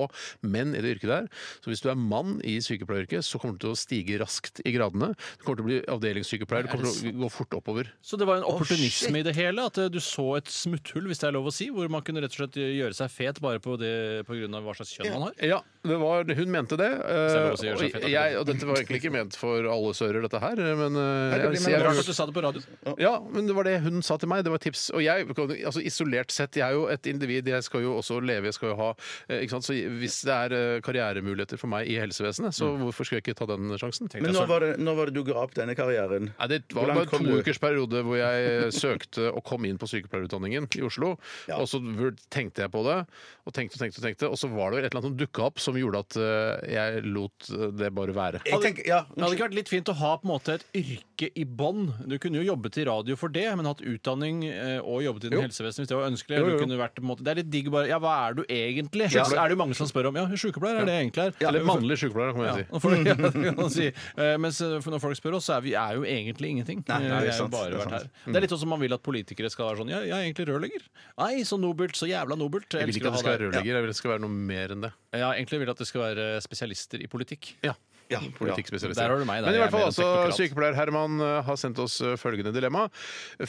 menn i det yrket der, så hvis du er mann i sykepleieryrket, så kommer du til å stige raskt i gradene. Du kommer til å bli avdelingssykepleier, du kommer til å gå fort oppover.
Så det var en opportunisme i det hele? At eh, du så et smutthull, hvis det er lov å si, hvor man kunne rett og slett gjøre seg fet bare på det på grunn av hva slags kjønn man har?
Ja, det var, hun mente det.
Så jeg
eh,
må også gjøre seg
og,
fett akkurat.
jeg, og dette var egentlig ikke ment for alle sører, dette her, men eh,
det blir
jeg,
med
jeg,
Rart at du sa det på radioen.
Ja, men det var det hun sa til meg. Det var et tips. Og jeg, altså isolert sett, jeg er jo et individ, jeg skal jo også leve, jeg skal jo ha eh, ikke sant? Så hvis det er eh, karrieremuligheter for meg i helsevesenet, så hvorfor skal jeg ikke ta den sjansen?
Men
sånn-
når var, det, når var det du ga opp denne karrieren?
Nei, det
Hvor
var
langt
bare
kom du?
en toukers periode hvor jeg eh, søkte og kom inn på sykepleierutdanningen i Oslo.
Ja.
Og så vur- tenkte jeg på det, og tenkte og tenkte, og tenkte, og så var det vel et eller annet som dukka opp som gjorde at eh, jeg lot eh, det bare være.
Jeg tenker, ja,
Det hadde ikke vært litt fint å ha på en måte et yrke i bånn. Du kunne jo jobbet i radio for det, men hatt utdanning eh, og jobbet innen helsevesenet hvis det var ønskelig.
jo, jo.
Du kunne vært, på en måte, det er litt digg bare Ja, hva er du egentlig?
Ja.
Så er det jo mange som spør om. Ja, sykepleier er det jeg egentlig er.
Eller mannlig sykepleier, kan man
Ja,
si.
nå får du- ja, det kan man si. Eh, Mens eh, for når folk spør oss, så er vi er jo egentlig ingenting.
Nei, nei,
Eh,
det er
vi jo
sant,
bare
det er sant.
vært her.
Mm.
Det er litt sånn som man vil at politikere skal være sånn Ja, jeg er egentlig rørlegger. Nei, så nobelt, så jævla nobelt.
Jeg vil
elsker
ikke at det skal
å ha
være
deg.
rørlegger, jeg vil at det skal være noe mer enn det.
Ja, jeg egentlig vil jeg at det skal være spesialister i politikk.
Ja.
ja,
Politikkspesialister.
Der har du meg, der.
Men i
Jeg
hvert
er
fall
mer en
altså,
teknokrat.
sykepleier Herman eh, har sendt oss eh, følgende dilemma.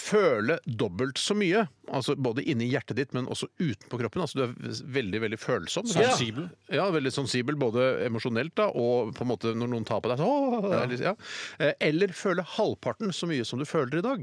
Føle dobbelt så mye, altså både inni hjertet ditt, men også utenpå kroppen. Altså du er veldig, veldig følsom.
Sensibel.
Ja, ja veldig sensibel, både emosjonelt da, og på en måte når noen tar på deg. Så, «Åh!» eller- ja. Eh, Eller føle halvparten så mye som du føler i dag.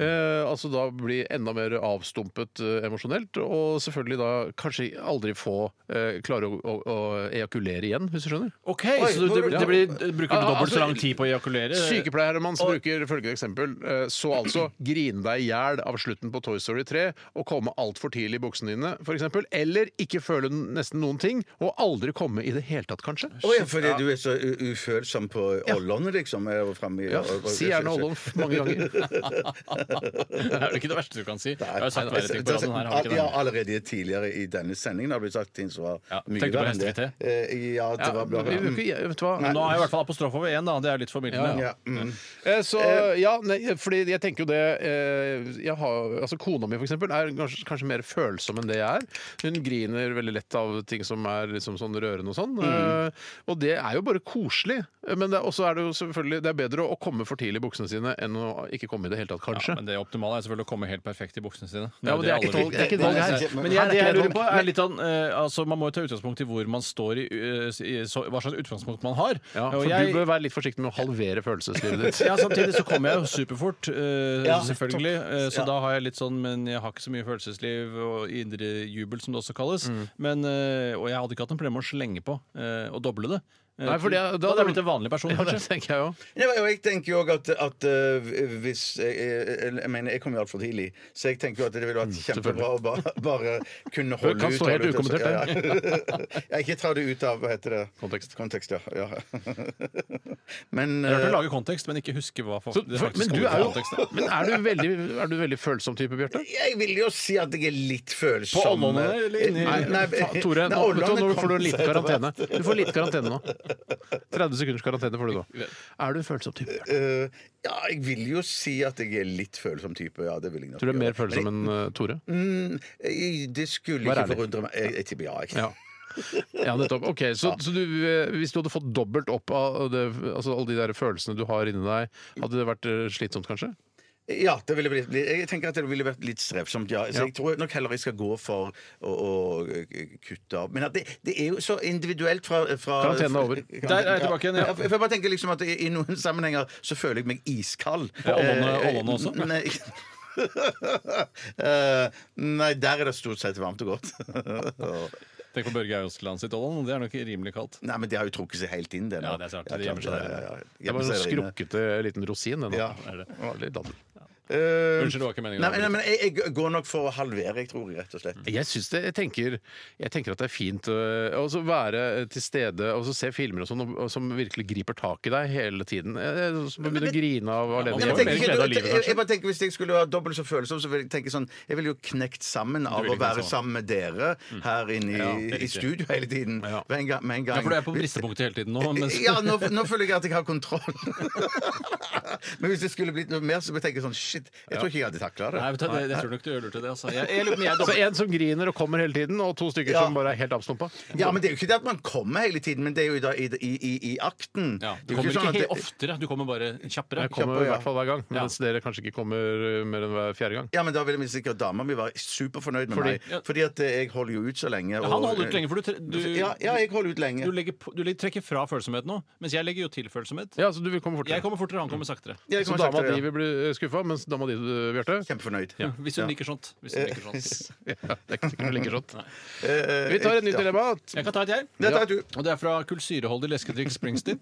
Eh, altså da bli enda mer avstumpet eh, emosjonelt, og selvfølgelig da kanskje aldri få eh, klare å, å, å ejakulere igjen, hvis du skjønner.
OK, så du, det, blir- det blir, bruker du
Ja,
dobbelt
altså,
så lang tid på å ejakulere?
Sykepleiermanns bruker følgende eksempel. eh, Så altså grine deg i hjel av slutten på Toy Story 3 og komme altfor tidlig i buksene dine, f.eks. Eller ikke føle n- nesten noen ting og aldri komme i det hele tatt, kanskje.
Å ja, fordi du er så u- ufølsom på ollene, liksom? er jo fremme i-
Ja,
og- og-
si gjerne Ollonf mange ganger.
Det er jo ikke det verste du kan si. Jeg har jo sagt
Nei,
verre ting på radioen her. Har jeg ikke
altså, ja,
det?
allerede tidligere i denne sendingen har det blitt sagt ting som var
Ja,
mye
tenkte du på
verre enn det.
hestevite?
Eh, Ja, det var bla,
Vi
bla.
vil ikke- Vet du hva?
Men Nå har jeg i hvert fall apostrof over én, da. Det er litt formildende.
Ja, mm.
Eh, Så, ja, nei, fordi jeg tenker jo det eh, jeg har, altså Kona mi for eksempel, er kanskje, kanskje mer følsom enn det jeg er. Hun griner veldig lett av ting som er liksom sånn rørende og
Mm.
sånn. Eh, og det er jo bare koselig. Eh, Men det, er- også er det jo selvfølgelig det er bedre å komme for tidlig i buksene sine enn å ikke komme i det hele tatt,
Ja,
kanskje.
men det optimale er selvfølgelig å komme helt perfekt i buksene sine.
Ja, men det er
alle
ikke
vil.
et valg- det er ikke et valg her.
Men jeg, det jeg lurer på er litt sånn, eh, altså Man må jo ta utgangspunkt i hvor man står i, eh, i så, hva slags utgangspunkt man har.
Ja,
Og
for
jeg-
du bør være litt forsiktig med å halvere følelseslivet ditt.
ja, Samtidig så kommer jeg jo superfort, eh,
Ja,
selvfølgelig. eh, så
Ja.
da har jeg litt sånn Men jeg har ikke så mye følelsesliv og indre jubel, som det også kalles.
Mm.
Men, eh, og jeg hadde ikke hatt noe problem med å slenge på eh, og doble det. Eh,
Nei, for det-
da,
da-
hadde jeg blitt en vanlig person,
Ja, det
kanskje.
tenker jeg jo.
Nei, men jeg tenker jo òg at, at eh, hvis jeg, jeg, jeg mener, jeg kom jo altfor tidlig, så jeg tenker jo at det ville
Mm,
vært kjempebra å bare, bare kunne holde ut.
kan stå
holde
helt
ut, altså.
ukommentert,
Ja, ja. ja, ikke ta det ut av Hva heter det?
Kontekst.
Kontekst, ja. ja. Men
Jeg hørte
eh,
lage kontekst, men ikke huske hva fa-
Så,
det
for,
faktisk
men du
kommer
er
fra
jo
konteksten.
men er du veldig, er du veldig følsom type, Bjarte?
jeg vil jo si at jeg er litt følsom. eh,
På ollene, eller inni-
Nei, nei,
Fa- Tore,
nei,
nå, vet du,
ollene
hva, nå får du
kom
litt
seg etter
karantene.
hvert.
Du får litt karantene nå. 30 sekunders karantene får du nå. Er du en følsom type? Bjørn?
Eh, ja, jeg vil jo si at jeg er litt følsom type. Ja, det vil jeg nok
Tror du er mer
gjøre.
følsom enn eh, Tore?
Men jeg- jeg- Det skulle
Vær
ikke
ærlig.
forundre meg. Jeg, jeg tipper ja. Jeg.
Ja. Ja, nettopp. Ok, Så, så du, eh, hvis du hadde fått dobbelt opp av det, altså, alle de der følelsene du har inni deg, hadde det vært eh, slitsomt, kanskje?
Ja, det ville blitt, jeg tenker at det ville vært litt strevsomt, ja. Så
Ja.
jeg tror nok heller jeg skal gå for å, å kutte av. Men at det, det er jo så individuelt fra, fra
Karantenen er over.
Der er jeg tilbake igjen, ja.
for jeg bare tenker liksom at i, i noen sammenhenger så føler jeg meg iskald.
På Ålåne-
Eh,
Ålåne også?
Nei. Eh, nei, der er det stort sett varmt og godt.
Tenk på Børge Eiosland sitt Olland, det er nok rimelig kaldt.
nei, men de har jo trukket seg helt inn, det nå.
Ja, det sånn er sant. De gjemmer seg
klart,
der.
ja, ja, ja.
Det var
Gjemmer
en
seg der inne.
skrukkete liten rosin. Den,
Ja.
da. Det var litt daddel.
Eh,
Unnskyld, det var ikke meningen.
Nei, nei, men jeg, jeg går nok for å halvere, jeg tror, rett og slett.
Jeg syns det. Jeg tenker, jeg tenker at det er fint øh, å også være til stede og så se filmer og sånn og- og som virkelig griper tak i deg hele tiden. Eh, Som å begynne å grine av
Nei,
alene.
men
får
tenk
mer
ikke-
glede av livet,
jeg-
kanskje.
Jeg bare tenker Hvis jeg skulle ha dobbelt så følsom, så vil jeg tenke sånn Jeg ville jo knekt sammen av
ville
å
knekt Mm.
være sammen med dere her inne i,
det er
i
riktig.
studio hele tiden.
Ja.
Med en gang, med en gang.
Ja, for du er på bristepunktet hele tiden nå. Mens...
Ja, nå, nå føler jeg at jeg har kontroll. Men hvis det skulle blitt noe mer, så bør jeg tenke sånn shit, jeg tror ikke jeg hadde takla det.
Nei, vet du, det, jeg tror nok du gjør lurt i det. Altså. Jeg, jeg, lurer på om jeg,
Så en som griner og kommer hele tiden, og to stykker
Ja.
som bare er helt avstumpa?
Ja, men det er jo ikke det at man kommer hele tiden, men det er jo da i, i, i, i akten.
ja,
Det
du
er jo
kommer
sånn at
ikke helt
det-
oftere, du kommer bare kjappere.
Jeg kommer
Kjappe,
i
ja.
hvert fall hver gang, mens dere kanskje ikke kommer uh, mer enn hver fjerde gang.
Ja, men da vil jeg sikkert dama mi være superfornøyd med
Fordi-
meg. Fordi at eh, jeg holder jo ut så lenge.
Ja, han holder ut lenge, for du, tre- du,
ja, ja, jeg holder ut lenge.
du, legger, på- du legger- trekker fra følsomhet nå, mens jeg legger jo til følsomhet.
Ja, Så du vil komme fortere?
Jeg kommer fortere, han kommer saktere.
Ja, jeg
så
kommer
dama
saktere,
di
ja.
vil bli skuffa, mens dama di, uh, Bjarte
Kjempefornøyd.
Hvis hun liker sånt. Hvis hun liker sånt.
ja, Det er ikke sikkert hun liker sånn.
Eh,
Vi tar et nytt
ja.
dilemma.
Jeg kan ta et, jeg.
Ja, ta et, du.
Og det er fra kullsyreholdig leskedrikk Springsteen.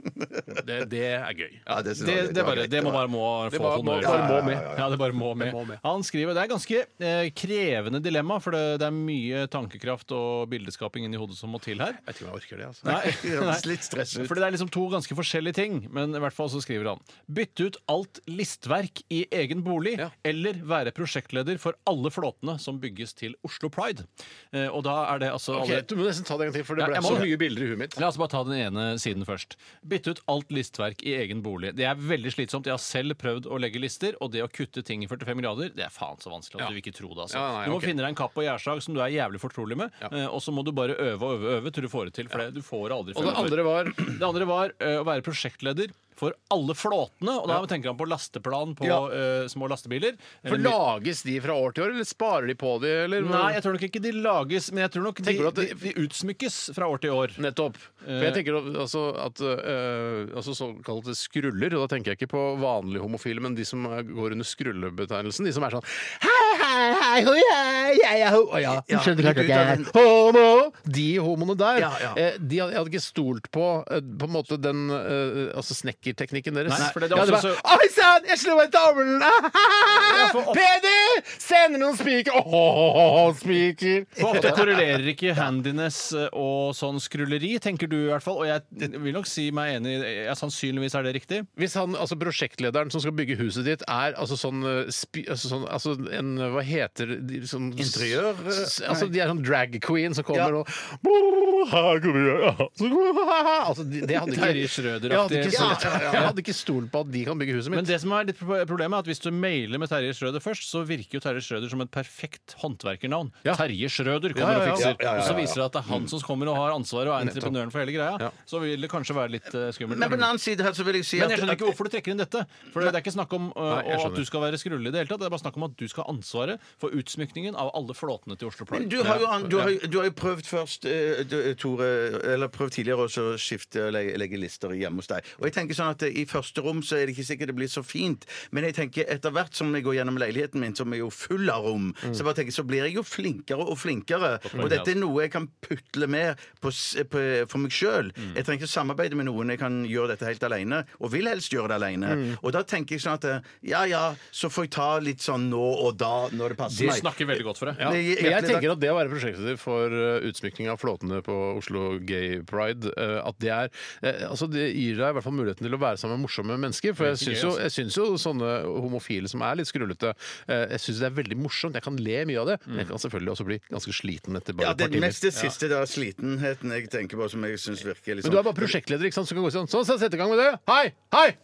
Det, det er gøy.
Ja, det, synes
Det,
jeg var-
det,
var
bare,
greit.
det må bare må
Det
få
bare må-
honnør.
bare må med.
Ja, det bare må med. Han skriver Det er ganske eh, krevende dilemma, for det, det er mye tankekraft og bildeskaping inni hodet som må til her.
Jeg tror jeg orker det, altså.
Nei,
Det høres litt stress ut.
For det er liksom to ganske forskjellige ting, men i hvert fall så skriver han Bytte ut alt listverk i egen bolig, eller være prosjektleder for alle flåtene som bygges til Oslo Pride. Eh, og da er det altså
Ok,
alle-
Du må nesten ta det en gang til, for det
Ja,
ble
jeg må
så
det.
mye bilder i huet mitt.
La oss bare ta den ene siden først. Bytte ut alt listverk i egen bolig. Det er veldig slitsomt. Jeg har selv prøvd å legge lister, og det å kutte ting i 45 grader, det er faen så vanskelig at du vil ikke tro det. Altså.
Ja, nei,
du må
ok.
finne deg en kapp og gjærsag som du er jævlig fortrolig med, eh, og så må du bare øve og øve og øve til du får det til, for det, du får aldri
Og det
fullført.
andre var
Det andre var eh, å være prosjektleder for alle flåtene, og da tenker han på lasteplan på
Ja.
eh, små lastebiler.
For
Eller-
Lages de fra år til år, eller sparer de på de, eller?
Nei, jeg tror nok ikke de lages, men jeg tror nok de,
Tenker du at
de,
det-
de utsmykkes fra år til år.
Nettopp. For jeg tenker al- altså at eh, altså såkalte skruller, og da tenker jeg ikke på vanlige homofile, men de som eh, går under skrullebetegnelsen. De som er sånn Hei, hei, hei, hoi, hei, jeg er ho... Å, ja, du
Ja,
skjønner klart
men du,
at jeg er
da,
homo! De homoene der.
Ja, ja.
eh, De hadde, jeg hadde ikke stolt på eh, på en måte den eh, altså snekkerteknikken deres.
Nei, for det er
Jeg hadde
også
bare, Oi sann, jeg slo meg i tavlen! Ah, ah, ah,
for ofte-
Peder! Sender noen spiker! Åh, åh, åh, åh, spiker!
For ofte korrelerer ikke handiness og sånn skrulleri, tenker du i hvert fall. Og jeg vil nok si meg enig, i- ja, sannsynligvis er det riktig.
Hvis han, altså prosjektlederen som skal bygge huset ditt, er altså sånn, eh, spi, altså sånn altså en, Hva heter de sånn,
Interiør, eh,
s- Altså De er sånn drag queen som kommer
Ja.
og her kommer jeg, ja, så kommer jeg, altså, de, det hadde ikke,
Terje Schrøder-aktig.
jeg, hadde ikke
Ja,
stolt- jeg hadde ikke stolt på at de kan bygge huset
Men
mitt.
det som er litt pro- problemet er at hvis du mailer med Terje Schrøder først, så virker jo Terje Schrøder som et perfekt håndverkernavn.
Ja.
Terje Schrøder kommer
Ja, ja, Mm. ja.
og fikser.
Ja, ja, ja,
Og så
ja.
viser det at det er han som kommer og har ansvaret og er entreprenøren for hele greia. Så vil det kanskje være litt eh, skummelt.
Men på den annen side her så vil jeg si
Men
at-
jeg skjønner ikke
at-
hvorfor du trekker inn dette. For det er ikke snakk om uh,
Nei, jeg
at
skjønner.
du skal være skrulle i det hele tatt. Det er bare snakk om at du skal ha ansvaret for utsmykningen av alle flåtene til Oslo Pride.
Men du har, jo, an- du, har, jo- du har jo prøvd først, eh, du- Tore, eller prøvd tidligere også å skifte og legge, legge lister hjemme hos deg. Og jeg tenker sånn at eh, I første rom så er det ikke sikkert det blir så fint, men jeg tenker etter hvert som jeg går gjennom leiligheten min, som er jo full av rom, så bare tenker jeg, så blir jeg jo flinkere og flinkere. Og dette er noe jeg kan putle med på, s- på, for meg sjøl. Jeg trenger ikke samarbeide med noen, jeg kan gjøre dette helt alene, og vil helst gjøre det alene. Og da tenker jeg sånn at eh, ja ja, så får jeg ta litt sånn nå og da, når det passer
Du
meg.
snakker veldig godt for deg.
Ja.
det-
Men jeg
hjertelig takk.
tenker at det å være prosjektleder for eh, utsmykning av flåtene på Oslo Gay Pride, eh, at det er eh, Altså, det gir deg i hvert fall muligheten til å være sammen med morsomme mennesker. For jeg
Det er
syns
gøy,
jo,
altså.
jeg syns jo sånne homofile som er litt skrullete, eh, jeg syns det er veldig morsomt. Jeg kan le mye av det, men jeg kan selvfølgelig også bli ganske sliten etter
Mm. Ja,
bare et
det
par timer.
mest det siste, da. Slitenheten jeg tenker på, som jeg syns virker
Men
liksom
du er bare prosjektleder, ikke sant? Så kan du gå sånn Sånn, så sett i gang med det! Hei! Hei!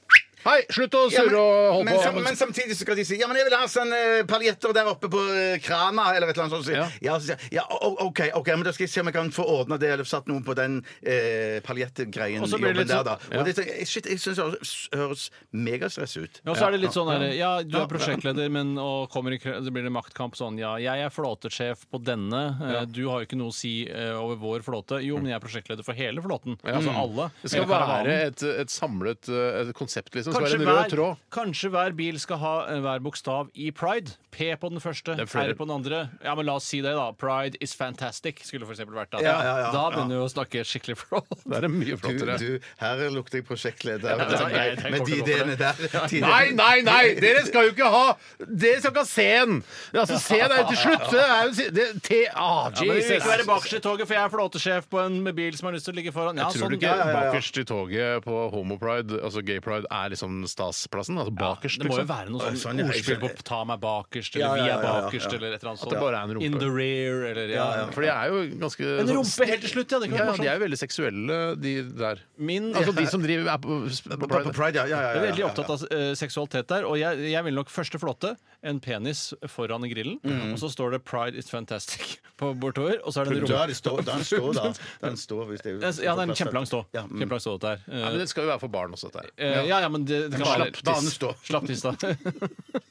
Hei! Slutt å
Ja,
surre og holde
men,
på.
sam, men samtidig så skal de si Ja, men jeg vil ha sånn eh, paljetter der oppe på eh, krana, eller et eller annet sånt. Så,
Ja.
ja. så sier jeg, ja, o- o- OK, ok, men da skal jeg se om jeg kan få ordna det, eller satt noen på den eh, paljettgreien
Og så
jobben
blir det litt
der, da.
sånn-
Og det, tenker jeg, shit, jeg syns det høres, høres megastress ut.
Ja, og så er det litt sånn her, ja, Du er prosjektleder, men og kommer i, krø- så blir det maktkamp sånn. Ja, jeg er flåtesjef på denne. eh, Du har jo ikke noe å si eh, over vår flåte. Jo, men jeg er prosjektleder for hele flåten. Altså alle.
Mm. Det skal
hele karavanen.
være et, et samlet eh, et konsept, liksom. Det
Kanskje
skal være en rød
hver,
tråd.
kanskje hver bil skal ha eh, hver bokstav i pride. P på den første,
er flere.
R på den andre. Ja, men La oss si det, da. Pride is fantastic skulle for eksempel vært da.
Ja, ja, ja,
da
ja.
begynner vi å snakke skikkelig flott.
Det er mye
Du,
flottere.
du, her lukter jeg prosjektleder.
ja, jeg- jeg
med de
kommer til å gå for
ideene der. de
Nei,
ideene-
nei, nei! Dere skal jo ikke ha Dere skal ikke ha C-en! Altså, C-en er jo til slutt. Det er jo det, T...
Ja,
Ah,
men vi vil
Jesus.
ikke være bakerst i toget, for jeg er flåtesjef på en bil som har lyst til å ligge foran. Ja,
Tror du
sånn,
ikke
ja, ja, ja.
bakerst i toget på homopride, altså gaypride, er liksom stasplassen? Altså bakerst,
Det må jo
liksom?
være noe
sånn,
sånn
ja, jeg
ordspill på
skjønner.
'ta meg bakerst'
Ja, ja,
eller 'vi
ja,
er
ja, ja.
bakerst' eller et eller annet sånt.
At det bare er en rumpe.
In the rear eller ja.
Ja, ja.
For de er jo ganske
En rumpe
sånn-
helt til slutt, ja! Det kan
Ja,
være
ja, de
morsomt.
er jo veldig seksuelle, de der.
Min
Altså de som driver er på, på
På på
Pride.
Pride, ja. ja, ja,
Jeg
ja,
er
ja,
veldig
ja.
opptatt av eh, seksualitet der. Og jeg, jeg ville nok første flåtte en penis foran i grillen.
Mhm.
Og så står det 'Pride is fantastic' på bortover. Og så er det en
Da
rumpe.
er det stå, da er det stå, da. Da er det stå, hvis det er,
Ja, det er en kjempelang stå.
Ja, mm.
Kjempelang stå dette her. Eh,
Ja, men det skal jo være for barn også, dette her.
eh, ja, ja, men det, det kan
slapp
være-
tiss. Banestå.
Slapp tiss, da.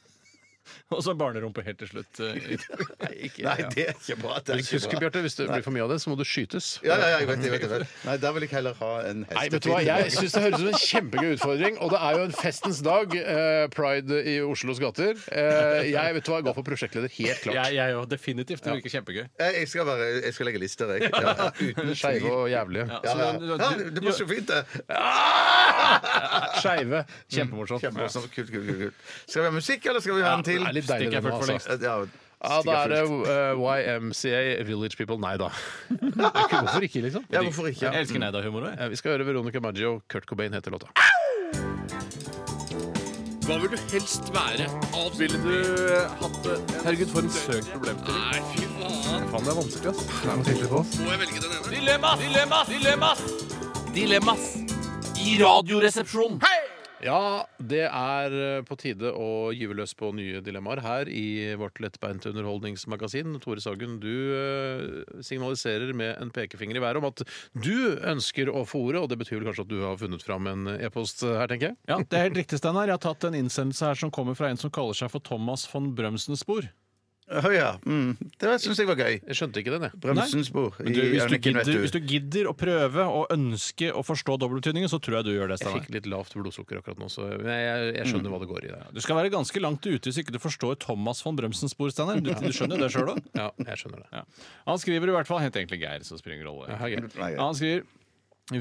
Og så barnerumpe helt til slutt. eh.
Nei, ikke,
Nei, det er ikke bra. Det er ikke
Husk,
bra.
Bjarte, hvis det blir for mye av det, så må du skytes.
Ja, ja, ja, jeg vet det. jeg vet det. Nei, da vil jeg heller ha en hestefilm.
Nei, vet du hva? Jeg syns det høres ut som en kjempegøy utfordring. Og det er jo en festens dag, eh, pride i Oslos gater. Eh, jeg vet du hva, jeg går for prosjektleder, helt klart.
Jeg jeg er jo definitivt. Det virker kjempegøy.
Jeg jeg skal, være, jeg skal legge lister, jeg. Ja, ja, uten tvil.
Skeive og jævlige.
Ja, ja.
Så-
Ja, det var så fint, det.
eh, Skeive. Kjempemorsomt.
Kjempemorsomt. Kult, kult, kult, kult. Skal vi ha musikk, eller skal vi ha en til?
Det er litt deilig,
Stikk er
det nå,
fullt for
altså.
lengst.
Ja,
Ja, da er det
stikker fullt.
eh, YMCA, Village People. Nei da. Hvorfor ikke, liksom?
Ja, hvorfor ikke?
Jeg elsker Neida-humor òg.
Eh, Vi skal høre Veronica Maggio. Kurt Cobain heter låta.
Hva vil du helst være? Ville du eh, hatt det? Herregud, for en søk problemstilling. Nei, fy faen. Faen, det er vanskelig, ass. Det er noe tenkelig på. Må jeg velge den ene? Dilemmas! Dilemmas! Dilemmas! Dilemmas i radioresepsjonen. Hei!
Ja, det er eh, på tide å gyve løs på nye dilemmaer her i vårt lettbeinte underholdningsmagasin. Tore Sagen, du eh, signaliserer med en pekefinger i været om at du ønsker å få ordet, og det betyr vel kanskje at du har funnet fram en e-post her, tenker jeg?
Ja, det er helt riktig, Steinar. Jeg har tatt en innsendelse her som kommer fra en som kaller seg for Thomas von Brømsnesbor.
Å, ja. Mm. Det syns jeg var gøy.
Jeg skjønte ikke den, jeg.
Bremsensbor.
Men du, hvis, du gidder, hvis du gidder å prøve og ønske å forstå dobbeltbetydningen, så tror jeg du gjør det.
Jeg
Steinar.
fikk litt lavt blodsukker akkurat nå, så men jeg, jeg skjønner hva det går i. Ja.
Du skal være ganske langt ute hvis ikke du forstår Thomas von Brømsens spor, Steinar. Du, du skjønner jo det sjøl òg?
ja, jeg skjønner det.
Ja. Han skriver i hvert fall Hent egentlig Geir, som springer rolle.
Ja, greit.
Nei,
Han skriver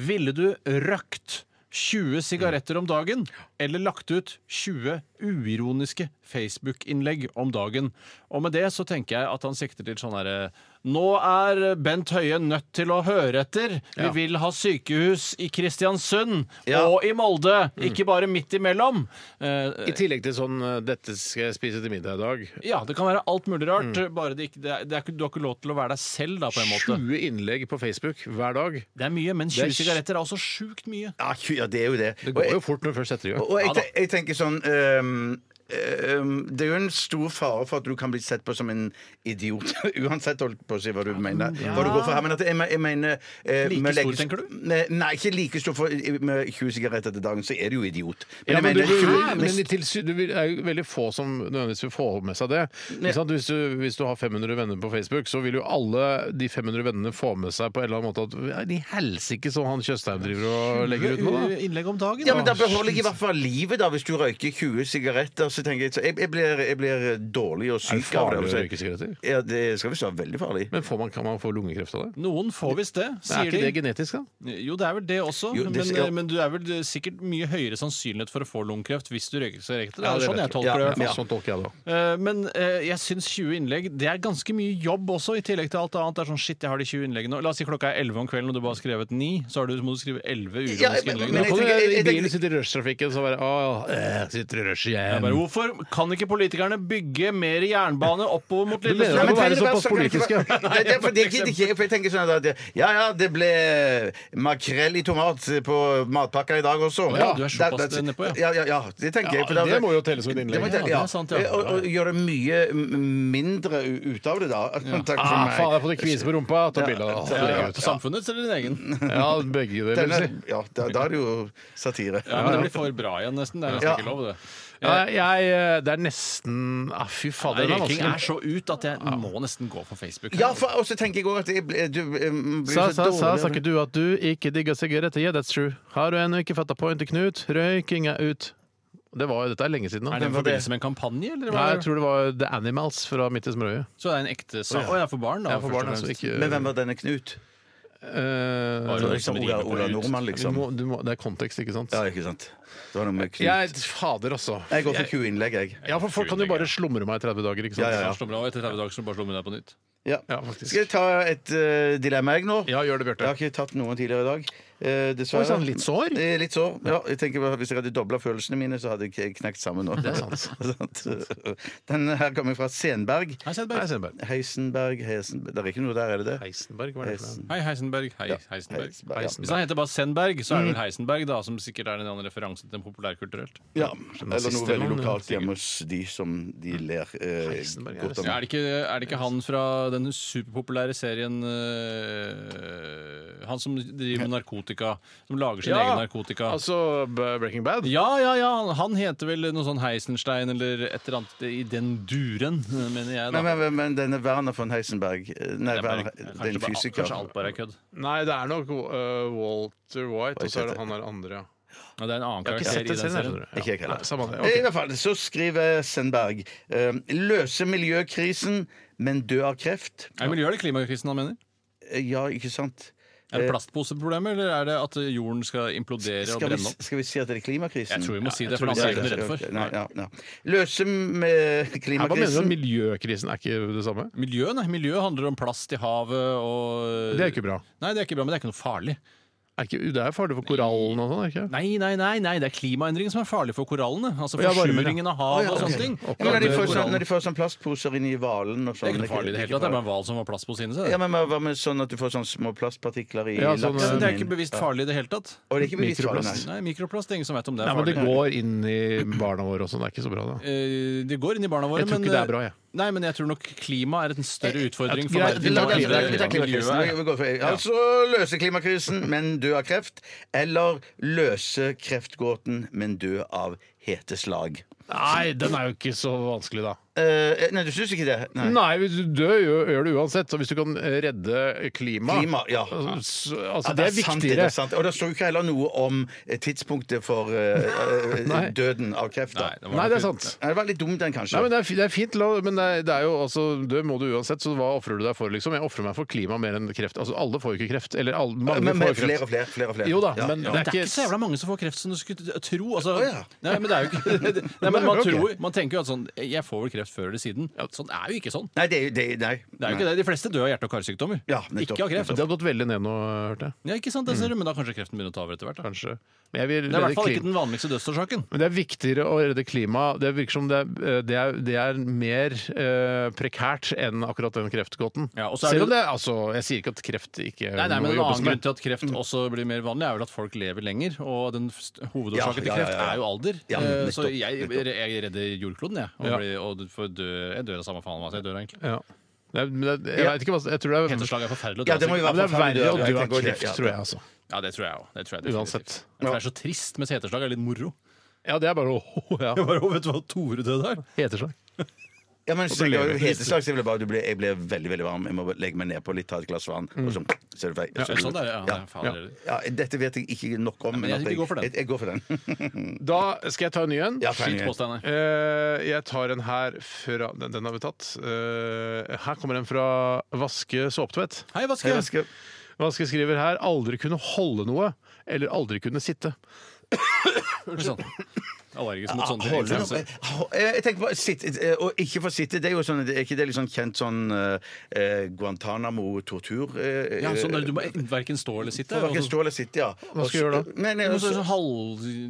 Ville du røkt 20 sigaretter om dagen eller lagt ut 20 uironiske Facebook-innlegg om dagen? Og med det så tenker jeg at han sikter til sånn herre Nå er Bent Høie nødt til å høre etter. Vi
Ja.
vil ha sykehus i Kristiansund
Ja.
og i Molde, ikke bare midt imellom. Eh,
Mm. I tillegg til sånn eh, 'dette skal jeg spise til middag i dag'.
ja, det kan være alt mulig rart.
Mm.
Bare det ikke, det er, det er, ikke- du har ikke lov til å være deg selv, da, på en måte.
20 innlegg på Facebook hver dag.
Det er mye, men
er
20
tj-
sigaretter er også sjukt mye.
Ja, tju- ja, det er jo det.
Det
Og
går
jeg,
jo fort når du først setter i gang.
og jeg, te- jeg tenker sånn ehm, ehm, det er jo en stor fare for at du kan bli sett på som en idiot. Uansett holdt på å si hva du mener. Hva du går for her, men at jeg, me- jeg mener eh,
Like
med
stor,
legges-
tenker du?
Nei, nei, ikke like stor. For i- med 20 sigaretter til dagen så er du jo idiot. Men
Ja,
jeg
men du,
mener 20
vil- Hæ? men det til sy- du vil- er jo veldig få som nødvendigvis vil få med seg det. Ikke sant? Hvis, du, hvis du har 500 venner på Facebook, så vil jo alle de 500 vennene få med seg på en eller annen måte at «Ja, de helsike som han Tjøstheim driver og legger ut med. Da.
Innlegg om dagen.
Ja, men Da beholder jeg i hvert fall livet, da, hvis du røyker 20 sigaretter. Så tenker Jeg så jeg, jeg, blir, jeg blir dårlig og
Er det
syk av
farlig
det.
å
altså.
så-
røyke sigaretter?
Ja, det skal visst være veldig farlig.
Men får man, kan man få lungekreft av det?
Noen får visst det,
Er
sier
ikke det
de.
genetisk, da?
Jo, det er vel det også,
Jo, det-
men, eh,
ja.
men du er vel sikkert mye høyere sannsynlighet for å få lungekreft hvis du røyker sigaretter. Det
Ja,
er
det
sånn
vet
jeg
jeg.
tolker det. i hvert fall.
Ja, sånn tolker jeg det òg.
Eh, Men eh, jeg syns 20 innlegg Det er ganske mye jobb også, i tillegg til alt annet. Det er sånn, shit, jeg har de 20 innleggene nå. La oss si klokka er 11 om kvelden, og du bare har skrevet 9, så har du, må du skrive 11 uroniske
Ja, men-
innlegg.
men
Da
nå.
kan du
tenker- jeg-
i
jeg
bilen
tenker-
sitte i rushtrafikken og så bare Å, eh, sitter i rushet
Jeg bare,
igjen.
hvorfor kan ikke politikerne bygge mer jernbane oppover mot
Du mener
Lillestrøm?
at det må
trenger
være
det være
såpass
så-
politisk, ja?
Det, det, er for det gidder ikke jeg. For jeg tenker sånn at Ja ja, det ble makrell i tomat på matpakka i dag også.
ja, du er såpass
Det- det-
nedpå,
ja. Ja, ja, det tenker jeg. for
Ja, det må jo telle som et
det må
innlegg.
jeg tenke,
Ja,
ja.
det er sant, ja.
Og, og gjøre mye m- mindre u- ut av det, da. Takk for
Ah,
meg.
faen, jeg har fått en kvise på rumpa. Ta bilde av det.
Ja,
Legg
ja,
ut.
På samfunnets eller din egen?
Ja, begge deler. vil
Den
jeg si.
er- ja, da, da er det jo satire.
Ja, men det blir for bra igjen, nesten. Det er nesten
Ja.
ikke lov, det.
Ja, jeg, eh, det er nesten ah, Fy fader, den er
Røyking er
vanskelig.
så ut at jeg må nesten gå på Facebook.
Ja, for, og så tenker jeg òg at jeg ble, du em, blir så dårlig. av det.
du at du ikke digger sigaretter? Yeah, that's true. Har du ennå ikke fatta pointet, Knut? Røyking er ut. Det var jo, Dette er lenge siden nå.
Er det i
var det?
forbindelse med en kampanje? Eller
Nei,
hva?
jeg tror det var The Animals fra Midt i smørøyet.
Så det er en ekte sak? Å, jeg er for barn, da.
Jeg er for
først og
barn, altså,
fremst.
ikke-
Men hvem var denne Knut?
Eh,
Bare
Det var
noen som
liksom Ola,
rimer på
Ola
ut.
Nordmann,
du
liksom.
må, du må, det er kontekst, ikke sant?
Ja, ikke sant. Det var noe med Knut.
Jeg Fader, altså.
Jeg går for Q-innlegg, jeg.
Ja, for folk kan jo bare slumre meg i 30 dager, ikke sant?
Ja, ja, ja.
Bare slå meg av, Etter 30 dager så bare slå meg ned på nytt.
Ja.
Ja, faktisk.
Skal jeg ta et eh, dilemma, jeg, nå?
Ja, gjør det,
Jeg
Bjarte.
har ikke tatt noen tidligere i dag. eh, dessverre.
Oi, sann, litt sår?
Eh, Litt sår, ja. Jeg tenker bare, Hvis jeg hadde dobla følelsene mine, så hadde jeg knekt sammen nå. Det er sant. Den her kommer fra Senberg.
Hei, Sendberg. Hei, Sendberg.
Heisenberg, Heisenberg Det er ikke noe der, er det det?
Heisenberg, hva er det for noe?
Hei, Heisenberg. Hei, Heisenberg. Mm.
Heisenberg, ja.
Hvis han heter bare Sendberg, så er det vel Heisenberg, da, som sikkert er en annen referanse til populærkulturelt.
Ja. Eller noe veldig
mann,
lokalt hjemme hos de som de ler eh,
Heisenberg, ja,
godt
Ja,
om.
er, det ikke, er det ikke han fra den superpopulære serien øh, Han som driver med narkotika? Som lager sin egen narkotika?
Altså B- Breaking Bad?
ja, ja, ja! han- Han heter vel noe sånn Heisenstein eller et eller annet i den duren, mener jeg.
Men,
da.
men, men denne Werner von Heisenberg eh, Nei,
Det er bare-
Werner,
kanskje
den
bare-
fysiker.
Kanskje alt bare er kødd.
Nei, det er nok øh, Walter White, og så er
heter
det han der andre, ja.
Ja, det er en annen
Jeg har ikke
karakter i
sett
den
den serien.
serien.
skjønner du.
Ikke jeg heller. Eh,
Nei, samme det.
I
ok.
hvert fall så skriver Sendberg eh, løse miljøkrisen, men dø av kreft.
Er det miljø- eller klimakrisen han mener?
Eh, Ja, ikke sant?
Er det plastposeproblemet, eller er det at jorden skal implodere og
Skal vi,
brenne opp?
skal vi si at det er klimakrisen?
Jeg tror vi må si det,
jeg
for
tror vi
det er jeg
sier Ok,
ikke redd for.
Nei, ja, ja. Løse med
Nei, Hva mener du
klimakrisen.
om miljøkrisen? Er ikke det samme?
Miljø, nei. Miljø handler om plast i havet og
Det er ikke bra.
Nei, det er ikke bra, men det er ikke noe farlig.
Er ikke, det er farlig for korallene og sånn, er det ikke?
Nei, nei, nei, nei, det er klimaendringen som er farlig for korallene. Altså
Ja, varmere.
forsuringen av havet og sånne ting.
Ja, men når, de
Det er
får sånn,
korallene.
når de får sånn plastposer inn i hvalen og
Det
sånn
er ikke noe farlig i det hele tatt. Det er bare en hval som har plast på sine
Ja, men
seg.
Hva med sånn at du får sånn små plastpartikler i
Ja, sånn,
Ja,
laksen
det er
din?
ikke bevisst farlig i det hele tatt.
Og det er ikke bevisst farlig, nei.
Nei, mikroplast. Det er ingen som vet om det er
Nei, men
farlig.
det går inn i barna våre også, det er ikke så bra, da.
Eh, Det går inn i barna våre,
Jeg tror
men eh,
ikke det er bra, jeg.
Nei, men jeg tror nok klima er en større utfordring for
greit,
verden
La- la-
enn
la- vi tar
det
klimakrisen.
miljøet er.
Vi går for- Altså løse klimakrisen, men dø av kreft. Eller løse kreftgåten, men dø av heteslag.
Nei, den er jo ikke så vanskelig, da.
Eh, nei, du syns ikke det? Nei.
Nei, hvis du dør, gjør, gjør det uansett. Så hvis du kan redde klimaet
Klima, ja.
altså, altså,
Ja,
det er
sant, det
viktigere.
er sant. Og det står jo ikke heller noe om eh, tidspunktet for eh, eh,
Nei.
døden av kreft. Da.
Nei, det var
Nei,
nok ut-
det er sant.
Nei, det var litt dumt, den, kanskje.
Nei, men det er, fi- det er fint, la- men det er, det er jo altså, død må du uansett, så hva ofrer du deg for, liksom? Jeg ofrer meg for klima mer enn kreft. Altså, alle får jo ikke kreft. Eller alle, mange
men, men
får jo
flere
kreft.
og flere. flere, og flere.
Jo da,
Ja,
men
ja.
det
Det
er
er ikke så
ikke
jævla mange som får kreft som du skulle t- tro. Altså,
Å, ja.
Nei, men det er jo ikke Nei, men
det
man,
er jo
tror, man tenker jo at sånn Jeg får vel kreft før eller siden. Sånn er jo ikke sånn.
Nei, det er jo det, nei.
Det er jo ikke det. De fleste dør av hjerte- og karsykdommer.
Ja, nettopp,
ikke av kreft.
Det har gått veldig ned nå, hørte jeg.
Ja, ikke sant, det ser du, Men da kanskje kreften begynner å ta over etter hvert. da.
Kanskje. Men jeg vil
Det er i hvert
redde
fall
klima.
ikke den vanligste dødsårsaken.
Men det er viktigere å redde klimaet. Det virker som det er, eh, det er, det er mer eh, prekært enn akkurat den kreftgåten.
Ja, og så er
Selv om
det-
det altså, Jeg sier ikke at kreft ikke
Nei, nei, men
må
En
jobbes
annen grunn
med.
til at
Mm.
kreft også blir mer vanlig, er vel at folk lever lenger. Og den f- st- hovedårsaken
Ja, ja,
til
ja,
kreft
ja.
er jo alder.
Ja,
Eh,
nettopp,
så jeg,
nettopp.
jeg redder jordkloden, jeg. Og,
Ja.
blir, og får dø, jeg dør av samme faen hva jeg dør, av, egentlig.
Ja. Nei, men det, jeg vet ikke hva Jeg tror det er, ja,
Heteslag er forferdelig å
Ja,
dø av.
det må jo
men det er
være
verre å dø av
tenker også det,
kreft,
ja.
tror jeg. altså
Ja, det tror jeg òg. Det tror jeg definitivt.
Uansett.
Jeg tror det er så trist, mens heteslag er litt moro.
Ja, det er bare å ja.
bare, vet du hva Tore døde av?
Heteslag.
Ja, men så, jeg, heteslag, så jeg, ble bare, du ble, jeg ble veldig veldig varm. Jeg må legge meg nedpå litt, ta et glass vann,
Mm.
og så, så er det ferdig. Så er det gjort.
Sånn der, ja.
Ja.
Nei, faen, det er det.
Ja, dette vet jeg ikke nok om.
jeg
at
tenker vi går for den.
Jeg, jeg går for den.
Da skal jeg ta en ny en.
Ja, tegn
Skitt
igjen.
på Steinar.
Eh, jeg tar en her fra Den, den har vi tatt. Eh, her kommer en fra Vaske Såpetvedt.
Hei,
Hei, Vaske.
Vaske.
Vaske skriver her 'aldri kunne holde noe', eller aldri kunne sitte.
Sånn. Allergisk mot sånne
Ah,
altså.
Holder du
ekstremer.
noe- Eh, Jeg tenker på sitt, eh, Å ikke få sitte, det er jo sånn Er ikke det litt sånn kjent sånn eh, Guantánamo-tortur? eh,
Ja, sånn der,
eh,
du må verken stå eller sitte.
for hverken
og så-
stå eller sitte, ja. Hva
skal jeg gjøre da?
Nei, nei,
Du må stå
også,
sånn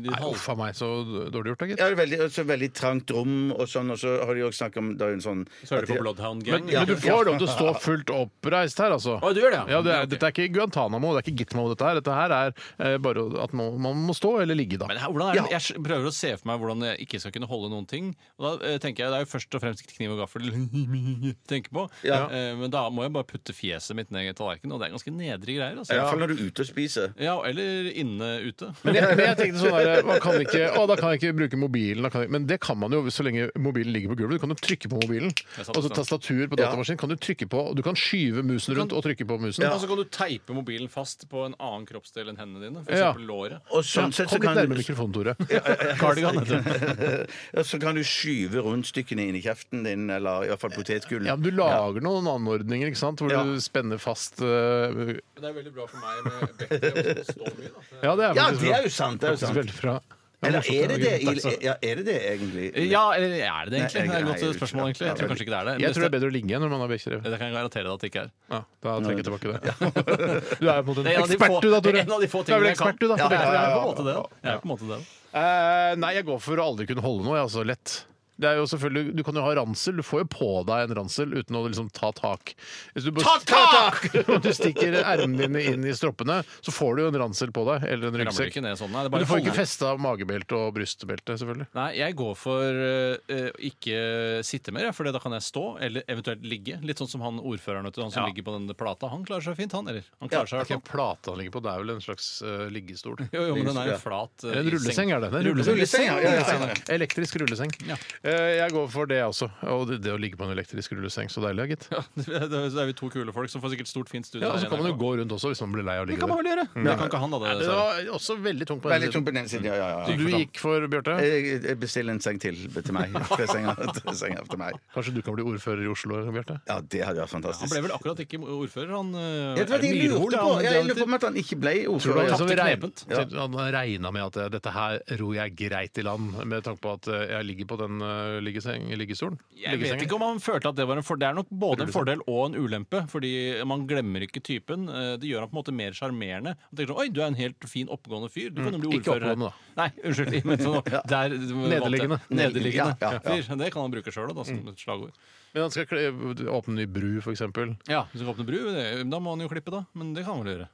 halv... halv.
Uff a meg, så dårlig gjort da, gitt.
ja, det er veldig, også veldig trangt rom og sånn, og så har de jo også snakket om det er jo en sånn
Så hører du på Bloodhound Gang.
Men, men du får lov til å stå fullt oppreist her, altså.
Å, du gjør det, ja.
ja, det
Ja,
er,
ok.
Dette er ikke Guantánamo, det er ikke Gitmo. Dette her Dette her er eh, bare at nå, man må stå eller ligge, da.
Men her, hvordan er det?
Ja.
Jeg prøver å se for meg hvordan jeg ikke skal kunne holde noen ting. Og da eh, tenker jeg, Det er jo først og fremst kniv og gaffel jeg tenker på.
Ja.
Eh, men da må jeg bare putte fjeset mitt ned i tallerkenen, og det er ganske nedre greier.
I
altså.
hvert fall når du er ute og spiser.
Ja, Eller inne ute.
Men jeg, men jeg tenkte sånn der, man kan ikke, å, da kan jeg ikke bruke mobilen. Da kan jeg, men det kan man jo så lenge mobilen ligger på gulvet. Du kan jo trykke på mobilen.
sant,
Altså
sant.
tastatur på datamaskin kan du trykke på. og Du kan skyve musen rundt og trykke på musen.
Og så kan du teipe mobilen fast på en annen kroppsdel enn hendene dine. For
Ja.
eksempel låret.
Og sånn
Ja,
sett så
kom litt
kan
nærmere
du
mikrofonen, Tore.
Cardigan heter det.
Ja, Så kan du skyve rundstykkene inn i kjeften din, eller i hvert fall potetgullet.
Ja, men Du lager noen anordninger ikke sant? hvor
Ja.
du spenner fast øh,
Det er veldig bra for meg med Becky. å stå mye, da.
Ja, det er
Ja,
faktisk
det
bra.
er jo sant! Det er jo
Faktisk
sant.
veldig bra.
Ja, Eller er det det?
Takk,
i- Ja, er det det egentlig?
Ja, eller er det det egentlig?
Nei,
Det er et
nei,
godt spørsmål, egentlig. Jeg tror kanskje ikke det er det.
Jeg tror det er bedre å ligge når man har bikkjer.
Det kan jeg garantere deg at det ikke er.
Ja, da trekker jeg tilbake det. Du er jo
Det
på en måte en
er en av de
ekspert,
få-
du da,
det
Tore.
er en av de få
er vel
tingene jeg kan.
ekspert, du da.
Ja,
på
jeg
bikkjer.
er på en måte det, da. Jeg er på en måte det. da.
Eh, nei, jeg går for å aldri kunne holde noe, jeg, altså. Lett. Det er jo selvfølgelig, Du kan jo ha ransel. Du får jo på deg en ransel uten å liksom ta tak. Hvis du bare, ta tak! Om du stikker ermene dine inn i stroppene, så får du jo en ransel på deg. Eller en
Jeg ramler
ryggsekk.
ikke ned sånn, nei. Det
Men
bare
du får
holder.
ikke festa magebelte og brystbelte, selvfølgelig.
Nei, jeg går for eh, eh, ikke sitte mer, for da kan jeg stå, eller eventuelt ligge. Litt sånn som han ordføreren, vet du, han som ligger på den plata. Han klarer seg fint, han. Eller han klarer seg i hvert
Hvilken
fall.
plate han ligger på, det er vel en slags eh, liggestol?
Jo, jo, men den er jo flat. eh,
En
i
rulleseng er det. det er en
Rulleseng.
rulleseng.
Rulleseng, ja, ja, ja, ja.
Elektrisk rulleseng.
Ja.
Eh, Jeg går for det også. Og det, det å ligge på en elektrisk rulleseng, så deilig, gitt.
Ja, det er- Så er vi to kule folk som får sikkert stort, fint studie.
Ja, og
her
så
i
kan man jo
NRK.
gå rundt også hvis man blir lei av å
Det
ligge
kan man
der.
vel gjøre. Men det kan ikke han, da. Det,
Det
dessverre.
var også veldig tungt på
Veldig Eh,
den
tung
siden.
på den ene siden, ja, ja,
Så
ja.
du gikk for Bjarte?
Jeg jeg bestiller en seng til til meg. Tre senger, tre senger til meg.
Kanskje du kan bli ordfører i Oslo, Bjarte?
Ja, det hadde vært
han
fantastisk.
ble vel akkurat ikke ordfører, han eh,
Jeg vet,
er det
jeg
Myrhol,
lurte
ja,
på,
han-
ja, jeg lurer på om at han ikke ble
Tror du
ordfører.
han
tapte
liksom
knepent.
regn- Han regna med at eh, dette her ror jeg greit i land, med tanke på at eh, jeg ligger på den eh, liggeseng, liggestolen?
Jeg vet ikke om han følte at det var en fordel. Det er nok både en fordel og en ulempe, fordi man glemmer ikke typen. Eh, Det gjør han på en måte mer sjarmerende. Han tenker sånn Oi, du er en helt fin, oppegående fyr. Du kan jo bli
Mm. Ikke
ordfører. her.»
oppegående, da.
Nei, unnskyld. Men sånn, der,
Nederliggende.
Nederliggende
Ja, ja, ja.
fyr. Det kan han bruke sjøl, da, som et slagord.
Men han skal kle- åpne ny bru, for eksempel.
Ja, Hvis du skal åpne bru, det- da må han jo klippe, da. Men det kan han vel gjøre.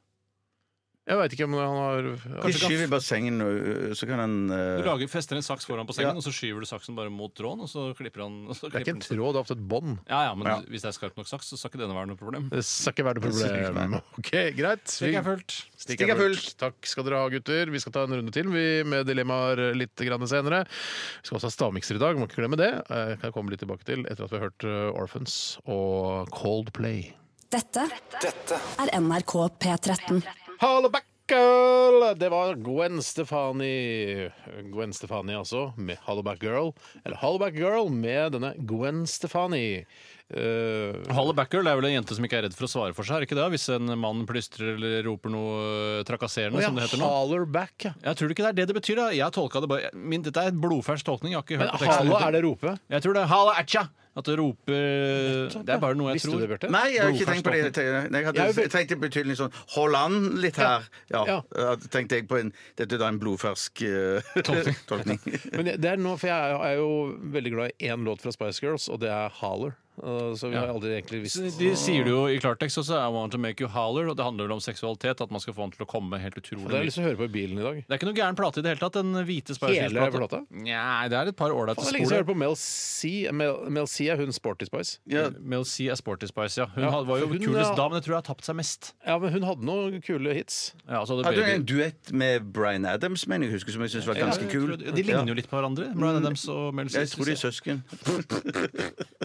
Jeg veit ikke om han har
Vi skyver bare sengen, og så kan han
Du
eh,
lager, fester en saks foran på sengen,
Ja.
og så skyver du saksen bare mot tråden, og så klipper han. Og så klipper
Det er ikke en
han-
tråd, det er ofte et bånd.
Ja, ja, men hvis det er skarp nok saks, så skal ikke denne være noe problem.
Det skal ikke være noe problem. OK, greit. Vi-
Slik er fullt.
Stikk er fullt. Takk skal dere ha, gutter. Vi skal ta en runde til vi med dilemmaer litt grann senere. Vi skal også ha stavmikser i dag, må ikke glemme det. Eh, Kan jeg komme litt tilbake til etter at vi har hørt eh, Orphans og Coldplay.
Dette er NRK P13.
Hallo, Girl! Det var Gwen Stefani. Gwen Stefani altså, med Hallo Back Girl. Eller Hallo Back Girl med denne Gwen Stefani. Eh,
Halle Backer det er vel en jente som ikke er redd for å svare for seg, er det ikke det? Hvis en mann plystrer eller roper noe eh, trakasserende, som det heter nå.
Holler back, ja.
Jeg tror ikke det er det det betyr. da Jeg tolka det bare Min, Dette er en blodfersk tolkning. Jeg har ikke
Men
hørt på teksten.
hallo, er det rope?
Jeg tror det er Halla atcha! At det roper Det er bare noe jeg
Visste
tror.
du det, Bjarte?
Nei, jeg har ikke tenkt på det. Jeg tenkte- Nei, Jeg
Jeg er
hadde
jo-
tenkt i betydelig sånn Hold an litt her. Ja.
Ja.
ja, Tenkte jeg på en Dette er da en blodfersk eh, tolkning.
Men det- det er nå, for jeg er- er jo veldig glad i én låt fra Spice Girls, og det er 'Holler'. Uh, Så vi har aldri egentlig visst
Så De sier det jo i klartekst også, I want to make you holler. Og det handler vel om seksualitet, at man skal få han til å komme helt utrolig
Det har jeg
mye.
lyst til å høre på i bilen i dag.
Det er ikke noe gæren plate i det hele tatt, den hvite Spice
Hele
Girls-plata.
plata?
Nei, det er et par ålreite
Det er lenge siden jeg
spor.
hørte på Mel C. Mel, Mel C er hun sporty Spice.
Ja,
Eh, Med å si er Sporty Spice, ja. Hun
Ja,
had- var jo
for hun,
kulest
ja.
da, men jeg tror jeg har tapt seg mest.
Ja, men hun hadde noen kule hits.
Ja, altså hadde
Hadde hun en
baby...
duett med Bryan Adams, mener jeg husker, som jeg syns var ganske
Ja, Mm. jeg
kul.
tror De ligner jo litt på hverandre. Bryan Adams og Mel
Jeg tror de er
Gibson.
søsken.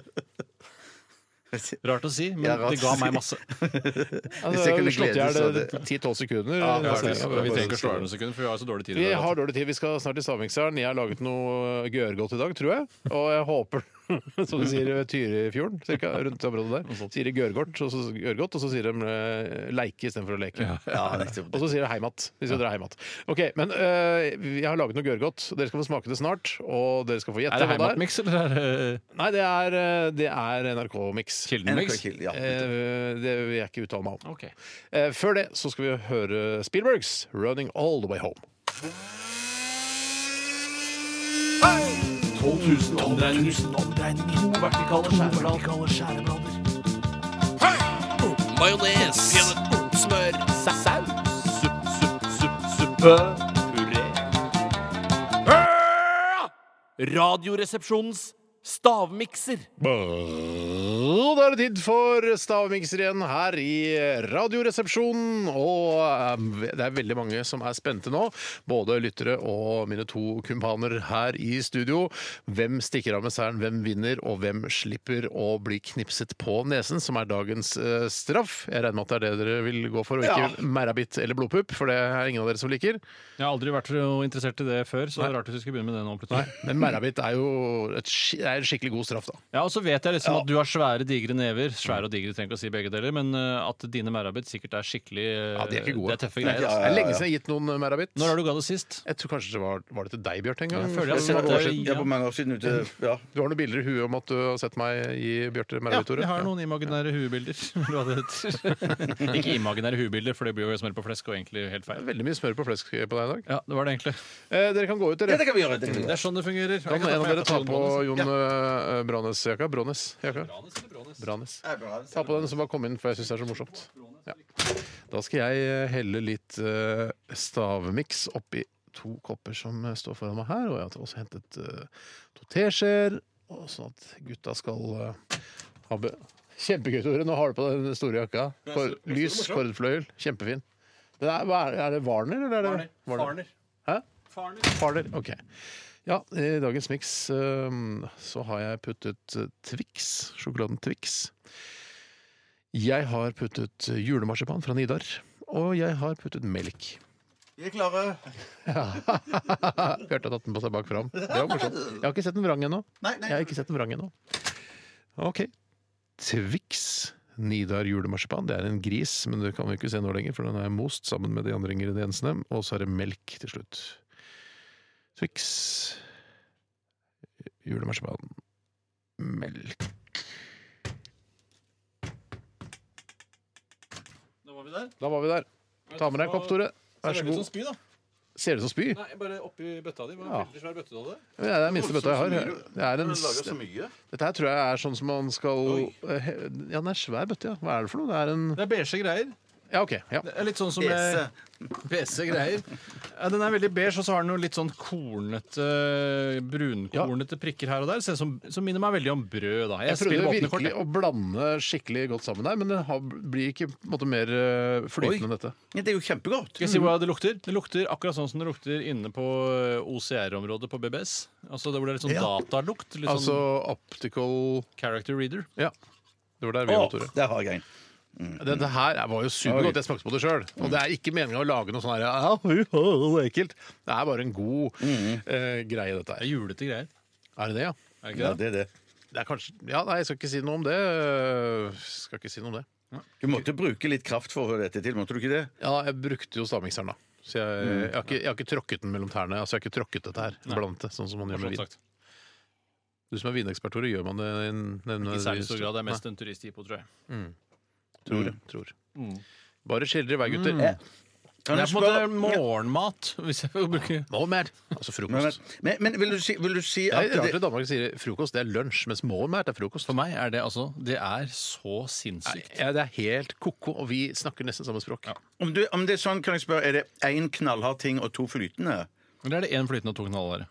Rart å si, men
Ja, rart
det
å
ga
si.
meg masse.
Ja,
Hvis
det
jeg
er
kunne
jo slått i
glede, så
hjel
hadde-
10-12 sekunder.
Ja,
Ja,
vi trenger
ja.
ikke å slå av noen sekunder, for vi har så dårlig tid. i
Vi
dag,
har dårlig tid. Vi skal snart til stavmikseren. Jeg har laget noe gørgodt i dag, tror jeg. Og jeg håper som de sier ved Tyrifjorden, cirka, rundt området der. Sier de gørgodt, og så, gørgodt, og så sier de eh, leike istedenfor å leke.
Ja, nettopp.
Og så sier de heimat. Hvis dere er heimat. Ok, men eh, jeg har laget noe gørrgodt. Dere skal få smake det snart. Og dere skal få
Er
gjette
det
hva det er.
heimatmiks eller er det
Nei, det er, eh, det er NRK-miks.
Kildenmiks?
NRK-kill,
Eh,
ja.
det vil jeg ikke uttale meg om.
Ok.
Eh, før det så skal vi høre Spielbergs 'Running All The Way Home'.
12 000 omdreininger. To vertikale skjæreblader. Majones. Smør. Saus. Supp, supp, supp, suppe. Puré. Radioresepsjonens stavmikser.
Og da er det tid for stavmikser igjen her i Radioresepsjonen. Og eh, det er veldig mange som er spente nå. Både lyttere og mine to kumpaner her i studio. Hvem stikker av med seieren, hvem vinner, og hvem slipper å bli knipset på nesen, som er dagens eh, straff. Jeg regner med at det er det dere vil gå for, og ikke merrabitt eller blodpupp, for det er ingen av dere som liker.
Jeg har aldri vært så interessert i det før, så det er rart hvis vi skulle begynne med det nå. plutselig
Men merrabitt er jo et, sk- det er en skikkelig god straff, da.
Ja, Og så vet jeg liksom at du har svære svære, digre never. Svære og digre, trenger ikke å si begge deler, men eh, at dine merabit sikkert er skikkelig eh,
Ja, de er ikke gode.
Det er tøffe greier. altså.
Det er lenge siden jeg har gitt noen eh, merabit.
Når er du ga det sist?
Jeg tror kanskje det var, var det til deg, Bjarte, en gang.
Jeg føler jeg har
For-
sett
for-
det.
År siden, ja, på mange år siden. Ute, ja.
Du har noen bilder i huet om at du har sett meg gi Bjarte
Ja,
merabit, Tore?
jeg har noen imaginære huebilder. hva det heter. ikke imaginære huebilder, for det blir jo smell på flesk og egentlig helt
Ja.
feil.
Veldig mye smør på flesk på deg i dag.
Ja, det var det egentlig.
Eh, dere kan gå ut, dere.
det kan vi gjøre. Det kan vi
Det
gjøre.
er sånn det fungerer.
Da kan en av dere ta på Jon
Ja.
eh, Branes-jakka. Branes-jakka. Branes. Ta på den som bare kom inn, for jeg syns det er så morsomt. Ja. Da skal jeg eh, helle litt eh, stavmiks oppi to kopper som eh, står foran meg her. Og jeg har også hentet eh, to teskjeer, og sånn at gutta skal eh, ha be Kjempegøy, Tore. Nå har du på deg den store jakka. Kor lys kordfløyel. Kjempefin. Den er, hva er, er det Warner, eller er det Hæ? Farner. Ok. Ja, i dagens miks så har jeg puttet eh, Twix, sjokoladen Twix. Jeg har puttet eh, julemarsipan fra Nidar. Og jeg har puttet melk.
Vi er klare.
Bjarte har tatt den på seg bak fram. Det var morsomt. Jeg har ikke sett den vrang ennå.
Nei,
Jeg har ikke sett den vrang ennå. OK. Twix Nidar julemarsipan. Det er en gris, men det kan vi ikke se nå lenger, for den er most sammen med de andre ingrediensene. Og så er det melk til slutt. Twix julemarsipan melk
Da var vi der.
Da var vi der. Ta med deg en kopp, Tore. Vær så god.
spy, da.
Ser det ut som spy?
Nei, bare oppi bøtta di.
Ja.
Hva veldig svær bøtte du hadde.
Ja, Det er den minste bøtta jeg har. Det er en,
Den lager så mye.
dette her tror jeg er sånn som man skal eh, he- Ja, den er svær bøtte, ja. Hva er det for noe? Det er en
Det er beige greier.
Ja, OK. Ja.
Det er litt sånn som
Ese.
Bese greier. Ja, den er veldig beige, og så har den noe litt sånn kornete, brunkornete prikker her og der. Ser ut Som, som minner meg veldig om brød, da. Jeg,
Jeg prøvde
spiller åpne kort.
virkelig
jeg.
å blande skikkelig godt sammen her, men det har, blir ikke på en måte, mer eh, flytende enn dette.
Ja, det er jo kjempegodt.
Skal jeg si hva det lukter? Det lukter akkurat sånn som det lukter inne på eh, OCR-området på BBS. Altså det hvor det er litt sånn datalukt. Litt
Altså optical
sånn character reader.
Ja. Det var der vi var, Tore.
Der har jeg en.
Dette her er- var jo supergodt. Jeg smakte på det sjøl. Og det er ikke meninga å lage noe sånn her ja, hu, hu, hu, ekkelt. Det er bare en god eh, greie, dette
Det
her.
er julete greier.
Er det det, ja?
Er det
Ja,
ikke det?
det er det.
Det er kanskje Ja, nei, jeg skal ikke si noe om det. Eh, Skal ikke si noe om det.
Du måtte bruke litt kraft for å få dette til, måtte du ikke det?
Ja, jeg brukte jo stavmikseren, da. Så jeg, jeg, har ikke, jeg har ikke tråkket den mellom tærne. Altså, jeg har ikke tråkket dette her. Blant det, sånn som man gjør med
Morsomt sagt.
vin. Du som er vinekspert, Tore, gjør man det i en-
I
nevne-
særlig stor grad. Det er mest en turisthypo, tror jeg.
Nei, tror. jeg, tror. Bare skildre i vei, gutter.
Kan
Det
jeg
er på en
spørre-
måte morgenmat, hvis jeg får bruke
Morgenmat. Altså
Men,
frokost.
men, men vil, du si, vil du si
Det
at
er rart
det,
at Danmark sier frokost, det er lunsj, mens morgenmat er frokost.
For meg er det altså Det er så sinnssykt.
Ja, det er helt ko-ko, og vi snakker nesten samme språk.
om, du, om det er sånn, kan jeg spørre, er det én knallhard ting og to flytende?
Eller er det én flytende og to knallharde?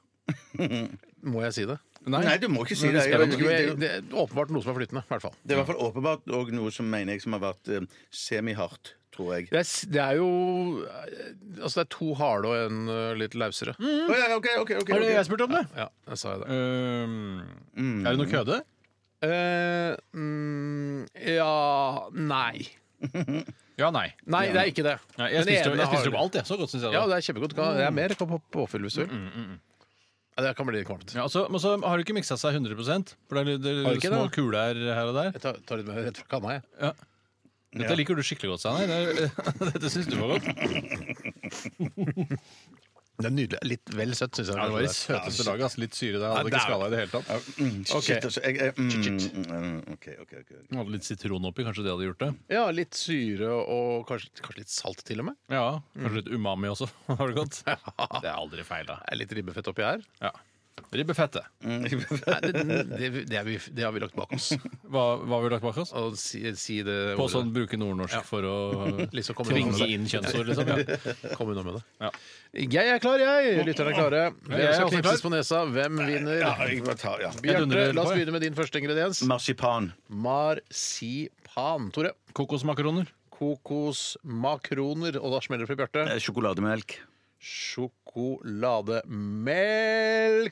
Må jeg si det?
Nei, du må ikke si det.
Jeg vet ikke, men det er åpenbart noe som er flytende. I hvert fall.
Det er i hvert fall åpenbart og noe som mener jeg som har vært eh, semihardt, tror jeg.
Det er, s- det er jo eh, Altså, det er to harde og en eh, litt lausere.
Å, ja, ok, ok, ok, ok.
spurte om det? Ehm,
Ja, jeg sa jo det. Hmm. Mm.
Er det noe køde?
Eh, mm, ja Nei.
Ja, nei.
Nei, det er ikke det.
Nei, jeg
Den
spiste,
ene
jeg spiste
har-
opp alt, jeg. Så godt syns jeg
Ja,
det.
det er kjempegodt. Kan- Det er mer på på- påfyll hvis du vil. Ja, det kan bli litt kvalmt.
Mm, Ja, altså, men så har det ikke miksa seg 100 For det er, litt- det er
Har det ikke
små
det?
kuler her og der.
Jeg tar, tar litt mer rett fra kanna, jeg.
Dette liker du skikkelig godt, Steinar. Det er- Dette syns du var godt.
Det er nydelig. Litt vel søtt, syns jeg.
det var i søteste laget. ass. Litt syre der. Hadde ikke skala i det hele tatt.
Shit, altså, jeg, jeg, mm, mm, mm, ok, ok, ok.
Hadde litt sitron oppi, kanskje det hadde gjort det.
Ja, litt syre og kanskje, kanskje litt salt til og med.
Ja, Kanskje litt umami også. Har det gått? Det er aldri feil, da.
Det er Litt ribbefett oppi her.
Ja. Ribbefettet.
Mm, Nei, det, det, det, er vi, det har vi lagt bak oss.
Hva, hva har vi lagt bak oss?
Å si, si det
På
ordet.
sånn bruke nordnorsk for å
Liksom komme unna
tvinge
med
inn kjønnsord, liksom. Ja.
det. Kom unna med det.
Ja.
Jeg er klar, jeg! Lytterne er klare. Hvem
er
skal
også
knipses på nesa? Hvem vinner?
Ja, jeg bare tar, ja.
Jeg
Bjarte,
dundrer
la oss
på, jeg.
begynne med din første ingrediens.
Marsipan.
Marsipan. Tore.
Kokosmakaroner.
Kokosmakroner. Og da smeller det for Bjarte.
Eh, Sjokolademelk.
Sjokolademelk.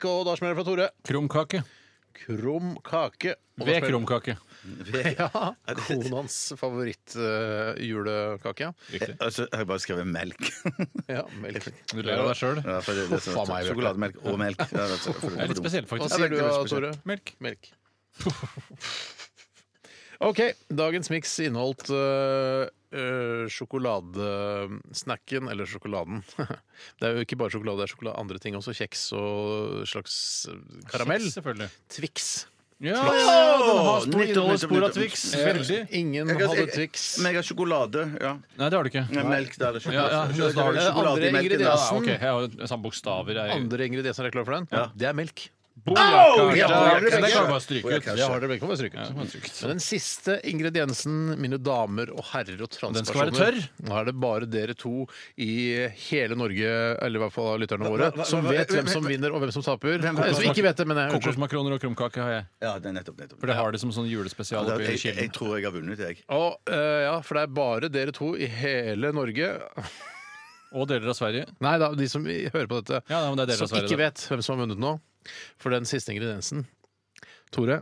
Og da smeller det for Tore.
Krumkake.
Krum kake. og da
Ved
smeller-
krumkake.
Ja, Konans eh, favorittjulekake.
Riktig.
Altså, jeg har bare skrevet melk.
ja, melk.
Du ler av deg sjøl.
Ja, for det- det er sånn-
Faen meg, Bjarte.
Sjokolademelk og melk. Ja, det er sånn, for- for-
Det er litt
for dumt.
spesielt,
Hva
faktisk.
sier du,
veldig
da,
spesielt.
Tore?
Melk.
Melk. OK. Dagens miks inneholdt øh, øh, sjokoladesnacken, eller sjokoladen. Det er jo ikke bare sjokolade, det er sjokolade, andre ting også. Kjeks og slags øh, karamell.
Kjeks, selvfølgelig.
Twix.
Ja,
den har spor-
Nyttårlig
nettopp,
spor av
nettopp.
Twix.
Ja.
Veldig.
Ingen
Jeg kan-
hadde
jeg-
Twix.
Men jeg har sjokolade. ja.
Nei, det har du ikke.
Nei, melk, da. Eller sjokolade.
Ja, ja,
Sjokolade-
da har du-
sjokolade i
andre
melken, da.
Ja,
ingredienser.
ok, jeg har jo samme bokstaver. Jeg.
Andre ingredienser er klar for den. Det er melk.
Bojakker,
ja,
der-
det er
der
begge.
kan du bare stryke ut.
Det har dere begge. Kan være stryket.
Ja, kan være stryket.
Men den siste ingrediensen, mine damer og herrer og
Den skal være
transpersoner
tørr.
Nå er det bare dere to i hele Norge, eller i hvert fall av lytterne våre,
hva- hva-
som
hva-
vet
hvem-
hvem som vinner og hvem som taper.
Hvem-
Jeg som ikke vet det, men jeg unnskyld.
Kokosmakroner og krumkake har jeg.
Ja, det er nettopp, nettopp.
For det har de som sånn julespesial
Ja,
oppe i
Jeg, jeg
Kilden.
tror jeg har vunnet, jeg.
Og, eh, ja, for det er bare dere to i hele Norge
Og deler av Sverige.
Nei da, de som hører på dette,
Ja, nei, men det er dere
som
av Sverige,
ikke
da.
vet hvem som har vunnet nå. For den siste ingrediensen Tore,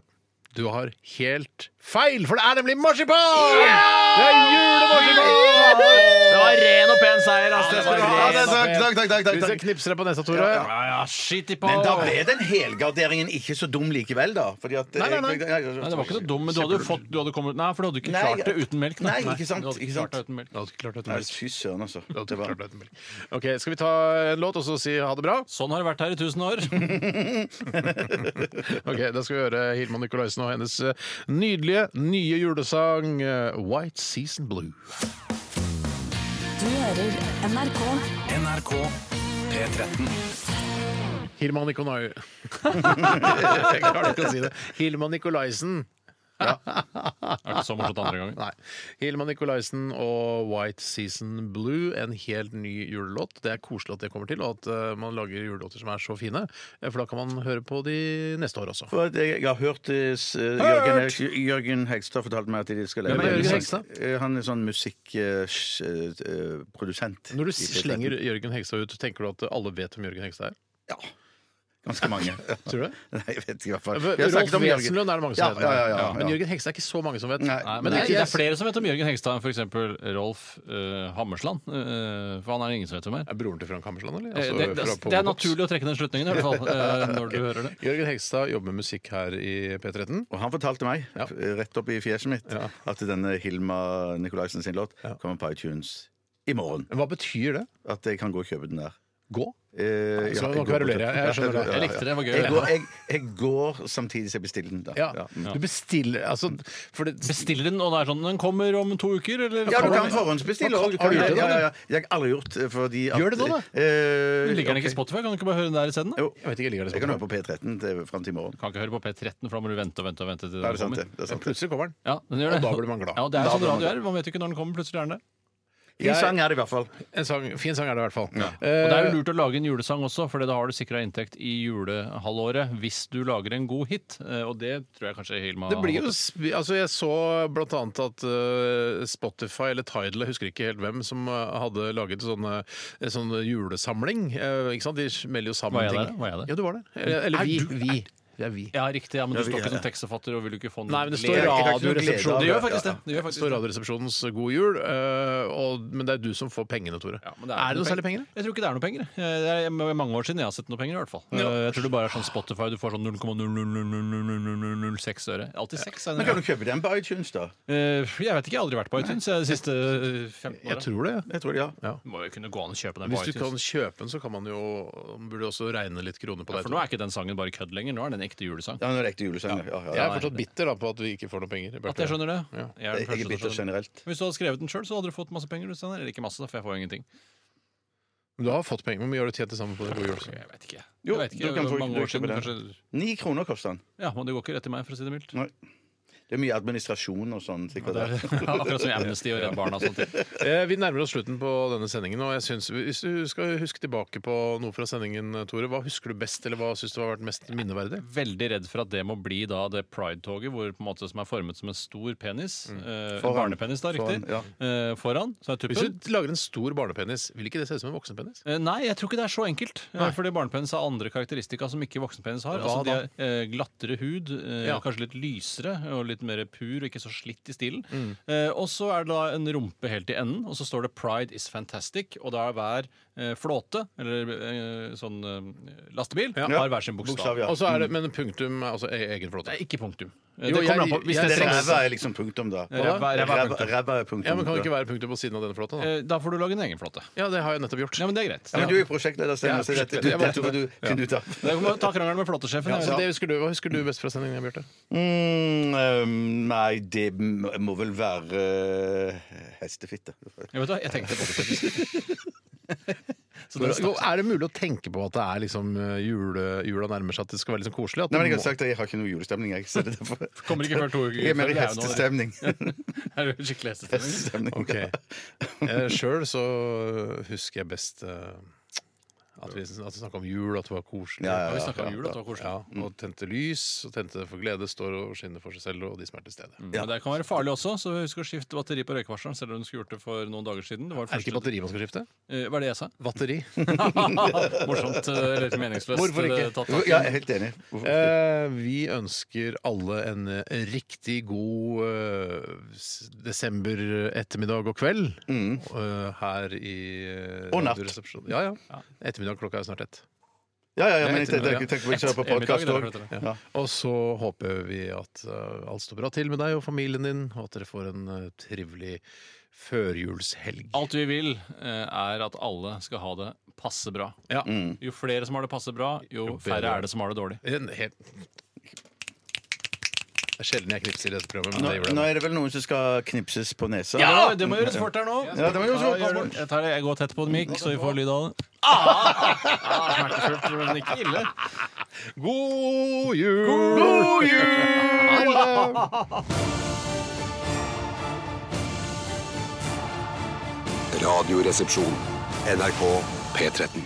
du har helt feil, for det er nemlig marsipan! Det er julemarsipan!
Det var ren og pen seier, ass! Det var
Ja,
ren
det er
og
takk,
pen.
takk, takk, takk, takk,
Hvis jeg
takk.
knipser deg på nesa, Tore
Ja, ja, shit i på!
Men da ble den helgarderingen ikke så dum likevel, da. Fordi at
Nei, nei, nei.
Nei, det var ikke så dum, men du hadde jo fått du hadde kommet, Nei, for du hadde ikke
Nei,
klart det
jeg-
uten melk.
Nei, ikke sant,
du hadde
ikke
klart
sant.
det uten melk.
Du hadde ikke klart dette
Nei,
med melk.
Fy søren, altså.
Du
Det
hadde ikke
var
klart dette med melk. Ok, Skal vi ta en låt og så si ha det bra?
Sånn har det vært her i tusen år.
Ok, Da skal vi høre Hilma Nikolaisen og hennes eh, nydelige nye julesang eh, White Season Blue.
Du hører NRK.
NRK P13.
Hilma Nikolai... Jeg klarer ikke å si det. Hilma Nikolaisen.
Det er ikke så morsomt andre ganger.
Nei. Hilma Nikolaisen og White Season Blue, en helt ny julelåt. Det er koselig at det kommer til, og at eh, man lager julelåter som er så fine. eh, For da kan man høre på de neste år også.
For at jeg, jeg har hørt eh, s- Jørgen, Heg- Jørgen Hegstad fortalte meg at de skal
Hvem er Jørgen Hegstad?
Eh, Han er sånn eh, musikkprodusent.
Når du slenger Jørgen Hegstad ut, tenker du at alle vet hvem Jørgen Hegstad er?
Ja. Ganske mange.
Tror du det?
Nei, jeg vet ikke i hvert fall. Vi har
Rolf
snakket om Jørgen.
Wesenlund er det mange
Ja,
som vet.
ja, ja, ja, ja.
Men Jørgen Hegstad er ikke så mange som vet.
Nei,
Nei, men
Men
det, er,
jeg-
det er flere som vet om Jørgen Hegstad enn f.eks. Rolf eh, Hammersland. eh, for han er det ingen som vet hvem er.
Er broren til Frank Hammersland, eller?
Eh,
Altså,
det, det,
fra
det er
Powerbox.
naturlig å trekke den slutningen, i hvert fall. eh, når du hører det.
Jørgen Hegstad jobber med musikk her i P13.
Og han fortalte meg,
Ja.
eh, rett opp i fjeset mitt,
Ja.
at denne Hilma Nikolaisen sin låt kommer på iTunes i morgen.
Men hva betyr det?
At jeg kan gå og kjøpe den der.
Gå?
Eh, ja,
Så nå
jeg går-
kverulerer jeg. Jeg skjønner det.
Jeg likte det, det var gøy.
Jeg går, jeg, jeg går samtidig som jeg bestiller den. Da.
Ja.
Ja.
Du bestiller Altså, for det
Bestiller den, og det er sånn den kommer om to uker, eller?
Ja, du kan forhåndsbestille òg.
Har du gjort det
Ja,
nå,
ja, ja. Jeg har aldri gjort eh, fordi at
Gjør det nå, da.
eh,
Ligger den ikke i
ok.
Spotify? Kan du ikke bare høre den der isteden? da?
Jo.
Jeg vet ikke, ligger
Jeg kan
det
høre på P13 til, fram til i morgen.
Du kan ikke høre på P13, for da må du vente og vente. og vente til
Da er det
den
sant,
kommer.
det. det er sant.
sånn?
det.
Plutselig kommer den.
Ja, den gjør
Og
det.
da blir man glad.
Ja, det er
Da
jo sånn
blir man
radio er. Man vet jo ikke når den kommer. Plutselig er den der.
I sang er det i hvert fall.
En sang, fin sang er det i hvert fall.
Og det er jo
Eh,
lurt å lage en julesang også, for da har du sikra inntekt i julehalvåret hvis du lager en god hit. Eh, Og det tror jeg kanskje Hilma
det blir
har
jo,
håpet.
sp- altså jeg så blant annet at eh, Spotify eller Tidal, jeg husker ikke helt hvem, som eh, hadde laget sånne, en sånn julesamling. eh, ikke sant? De melder jo sammen
Var jeg
ting.
der? Var jeg der?
Ja, du var der. Eh, Eller, eller
Er
vi.
du-
vi. Det er vi.
Ja, riktig. Ja, men du
vi-
står ikke
ja,
som tekstforfatter og vil jo ikke få noe
Nei, men det
glede.
står
Jeg- jeg har ikke noe glede
Radioresepsjonen.
av
Det
Det
gjør
gjør
Ja,
faktisk det.
ja.
det, gjør
Det står
faktisk det.
Radioresepsjonens God jul, eh, og, men det er du som får pengene, Tore.
Ja, men
er, det noe særlig penger? da?
Jeg tror ikke det er noe penger. jeg. Eh, Det er m- mange år siden jeg har sett noe penger. i hvert fall Eh, Jeg tror det bare er sånn Spotify. Du får sånn 0,00006 øre. Alltid seks. er
Men
det.
kan du kjøpe den på iTunes, da?
Eh, Jeg vet ikke. Jeg har aldri vært på iTunes jeg, de siste eh, 15
Jeg
åra.
tror det. ja.
Jeg tror det, ja.
Må jo kunne gå an å kjøpe den på
Hvis du
iTunes.
kan kjøpe den, så kan man jo man burde også regne litt kroner på
Ja,
deg.
for nå er ikke den sangen bare kødd lenger. Nå er det en ekte julesang.
Ja, nå er det ekte julesang. Ja, ja,
Jeg
ja.
er fortsatt bitter da på at vi ikke får noe penger.
At jeg skjønner det?
Ja.
Jeg
Jeg er den
er
første til å
bitter
skjønne det.
generelt.
Hvis du hadde skrevet den sjøl, hadde du fått masse penger. du, Steinar. Eller ikke masse, da, for jeg får jo ingenting.
Men du har fått penger. Hvor mye har du tjent til sammen på det? på jul?
Jeg vet ikke.
Jo,
jeg vet ikke.
du kan få- du
mange år
kan
siden,
kjøpe
kanskje.
Ni kroner koster den.
Ja, men det går ikke rett til meg, for å si det mildt.
Nei. Det er mye administrasjon og sånn. sikkert.
Det er, akkurat som i Amnesty og Redd Barna og sånne ting.
Eh, Vi nærmer oss slutten på denne sendingen. og jeg synes, Hvis du skal huske tilbake på noe fra sendingen, Tore, hva husker du best, eller hva syns du har vært mest minneverdig?
Veldig redd for at det må bli da det pride-toget hvor på en måte som er formet som en stor penis. Eh,
Foran.
barnepenis, da, riktig.
Foran, ja.
eh, foran så er
Hvis
tuppen.
du lager en stor barnepenis, vil ikke det se ut som en voksenpenis?
Eh, Nei, jeg tror ikke det er så enkelt. Eh, Fordi barnepenis har andre karakteristika som ikke voksenpenis har.
Hva
Altså, de har eh, glattere hud, eh,
Ja.
kanskje litt lysere og litt mer pur og ikke så slitt i stilen.
Mm.
Eh, og så er det da en rumpe helt i enden, og så står det 'Pride is fantastic'. Og da er hver eh, flåte, eller eh, sånn eh, lastebil, har hver sin bokstav.
Bokstav, ja.
Og så er det, Men punktum er altså e- egen flåte.
Nei, ikke punktum. Eh, Det
Jo,
kommer
jeg-
an på hvis
jeg-
det
jeg-
trengs.
Ræva er liksom punktum, da.
Ræva- ræva er punktum.
Ræva er punktum.
Ja, men Kan det ikke være punktum på siden av denne flåten? Da?
Eh, Da får du lage en egen flåte.
Ja, det har jeg nettopp gjort.
Ja, men det er greit.
Ja, men du er jo prosjektleder, Steinar, så dette,
prosjektleder.
dette må du finne ut av.
Da kan man ta krangelen med flåtesjefen.
Ja, så
da.
det husker du, Hva husker du best fra sendingen, Bjarte?
Mm, øhm, nei, det m- må vel være øh, hestefitte.
Ja, vet du, hva, jeg tenkte på det. faktisk. Så det var-
Er det mulig å tenke på at det er liksom eh, jule, jula nærmer seg, at det skal være litt sånn koselig? At
Nei, men jeg har
du
sagt at jeg har ikke noe julestemning, jeg. Så det er derfor.
Kommer ikke før to uker
Jeg er mer i
før, det er jo nå, det.
hestestemning.
Er det skikkelig
hestestemning
hestestemning?
må...
ja.
eh, Sjøl så husker jeg best eh, at vi, at vi snakka om jul, at det var koselig.
Ja, Mm. ja, ja.
Vi snakket om jul, at det var koselig.
Ja, og tente lys, og tente for glede, står og skinner for seg selv og de som er til stede.
Mm.
Ja. Det kan være farlig også, så husk å skifte batteri på røykevarsleren. Selv om du skulle gjort det for noen dager siden. Det var
Er det ikke
første-
batteri man skal skifte?
Eh, Hva er det jeg sa?
Batteri.
Morsomt eh, eller litt meningsløst.
Hvorfor ikke?
eh, tatt
Ja,
tak i.
jeg er helt enig. Hvorfor ikke?
Eh, vi ønsker alle en eh, riktig god eh, s- desember ettermiddag og kveld eh, her i eh,
Mm. Og natt.
Radioresepsjonen. Ja, ja. Ettermiddag klokka er snart ett.
Ja, ja, ja, men jeg
ettermiddag,
tenker, tenker vi kjører på
Ettermiddag,
podkast
det er
òg.
klart
Ja.
Og så håper vi at eh, alt står bra til med deg og familien din, og at dere får en eh, trivelig førjulshelg.
Alt vi vil, eh, er at alle skal ha det passe bra.
Ja.
Jo flere som har det passe bra, jo færre er det som har det dårlig.
En helt det er sjelden jeg knipser i dette programmet, men
Nå,
det gjorde jeg.
nå
nå.
er det vel noen som skal knipses på nesa?
Ja, det må gjøres fort her nå.
Ja, det må gjøres fort.
Ja, gjør det. Jeg, tar det. jeg går tett på en mic, så vi får lyd av det. Ah, smertefullt, men ikke ille.
God jul! God jul! Ha det!
Radioresepsjon. NRK P13.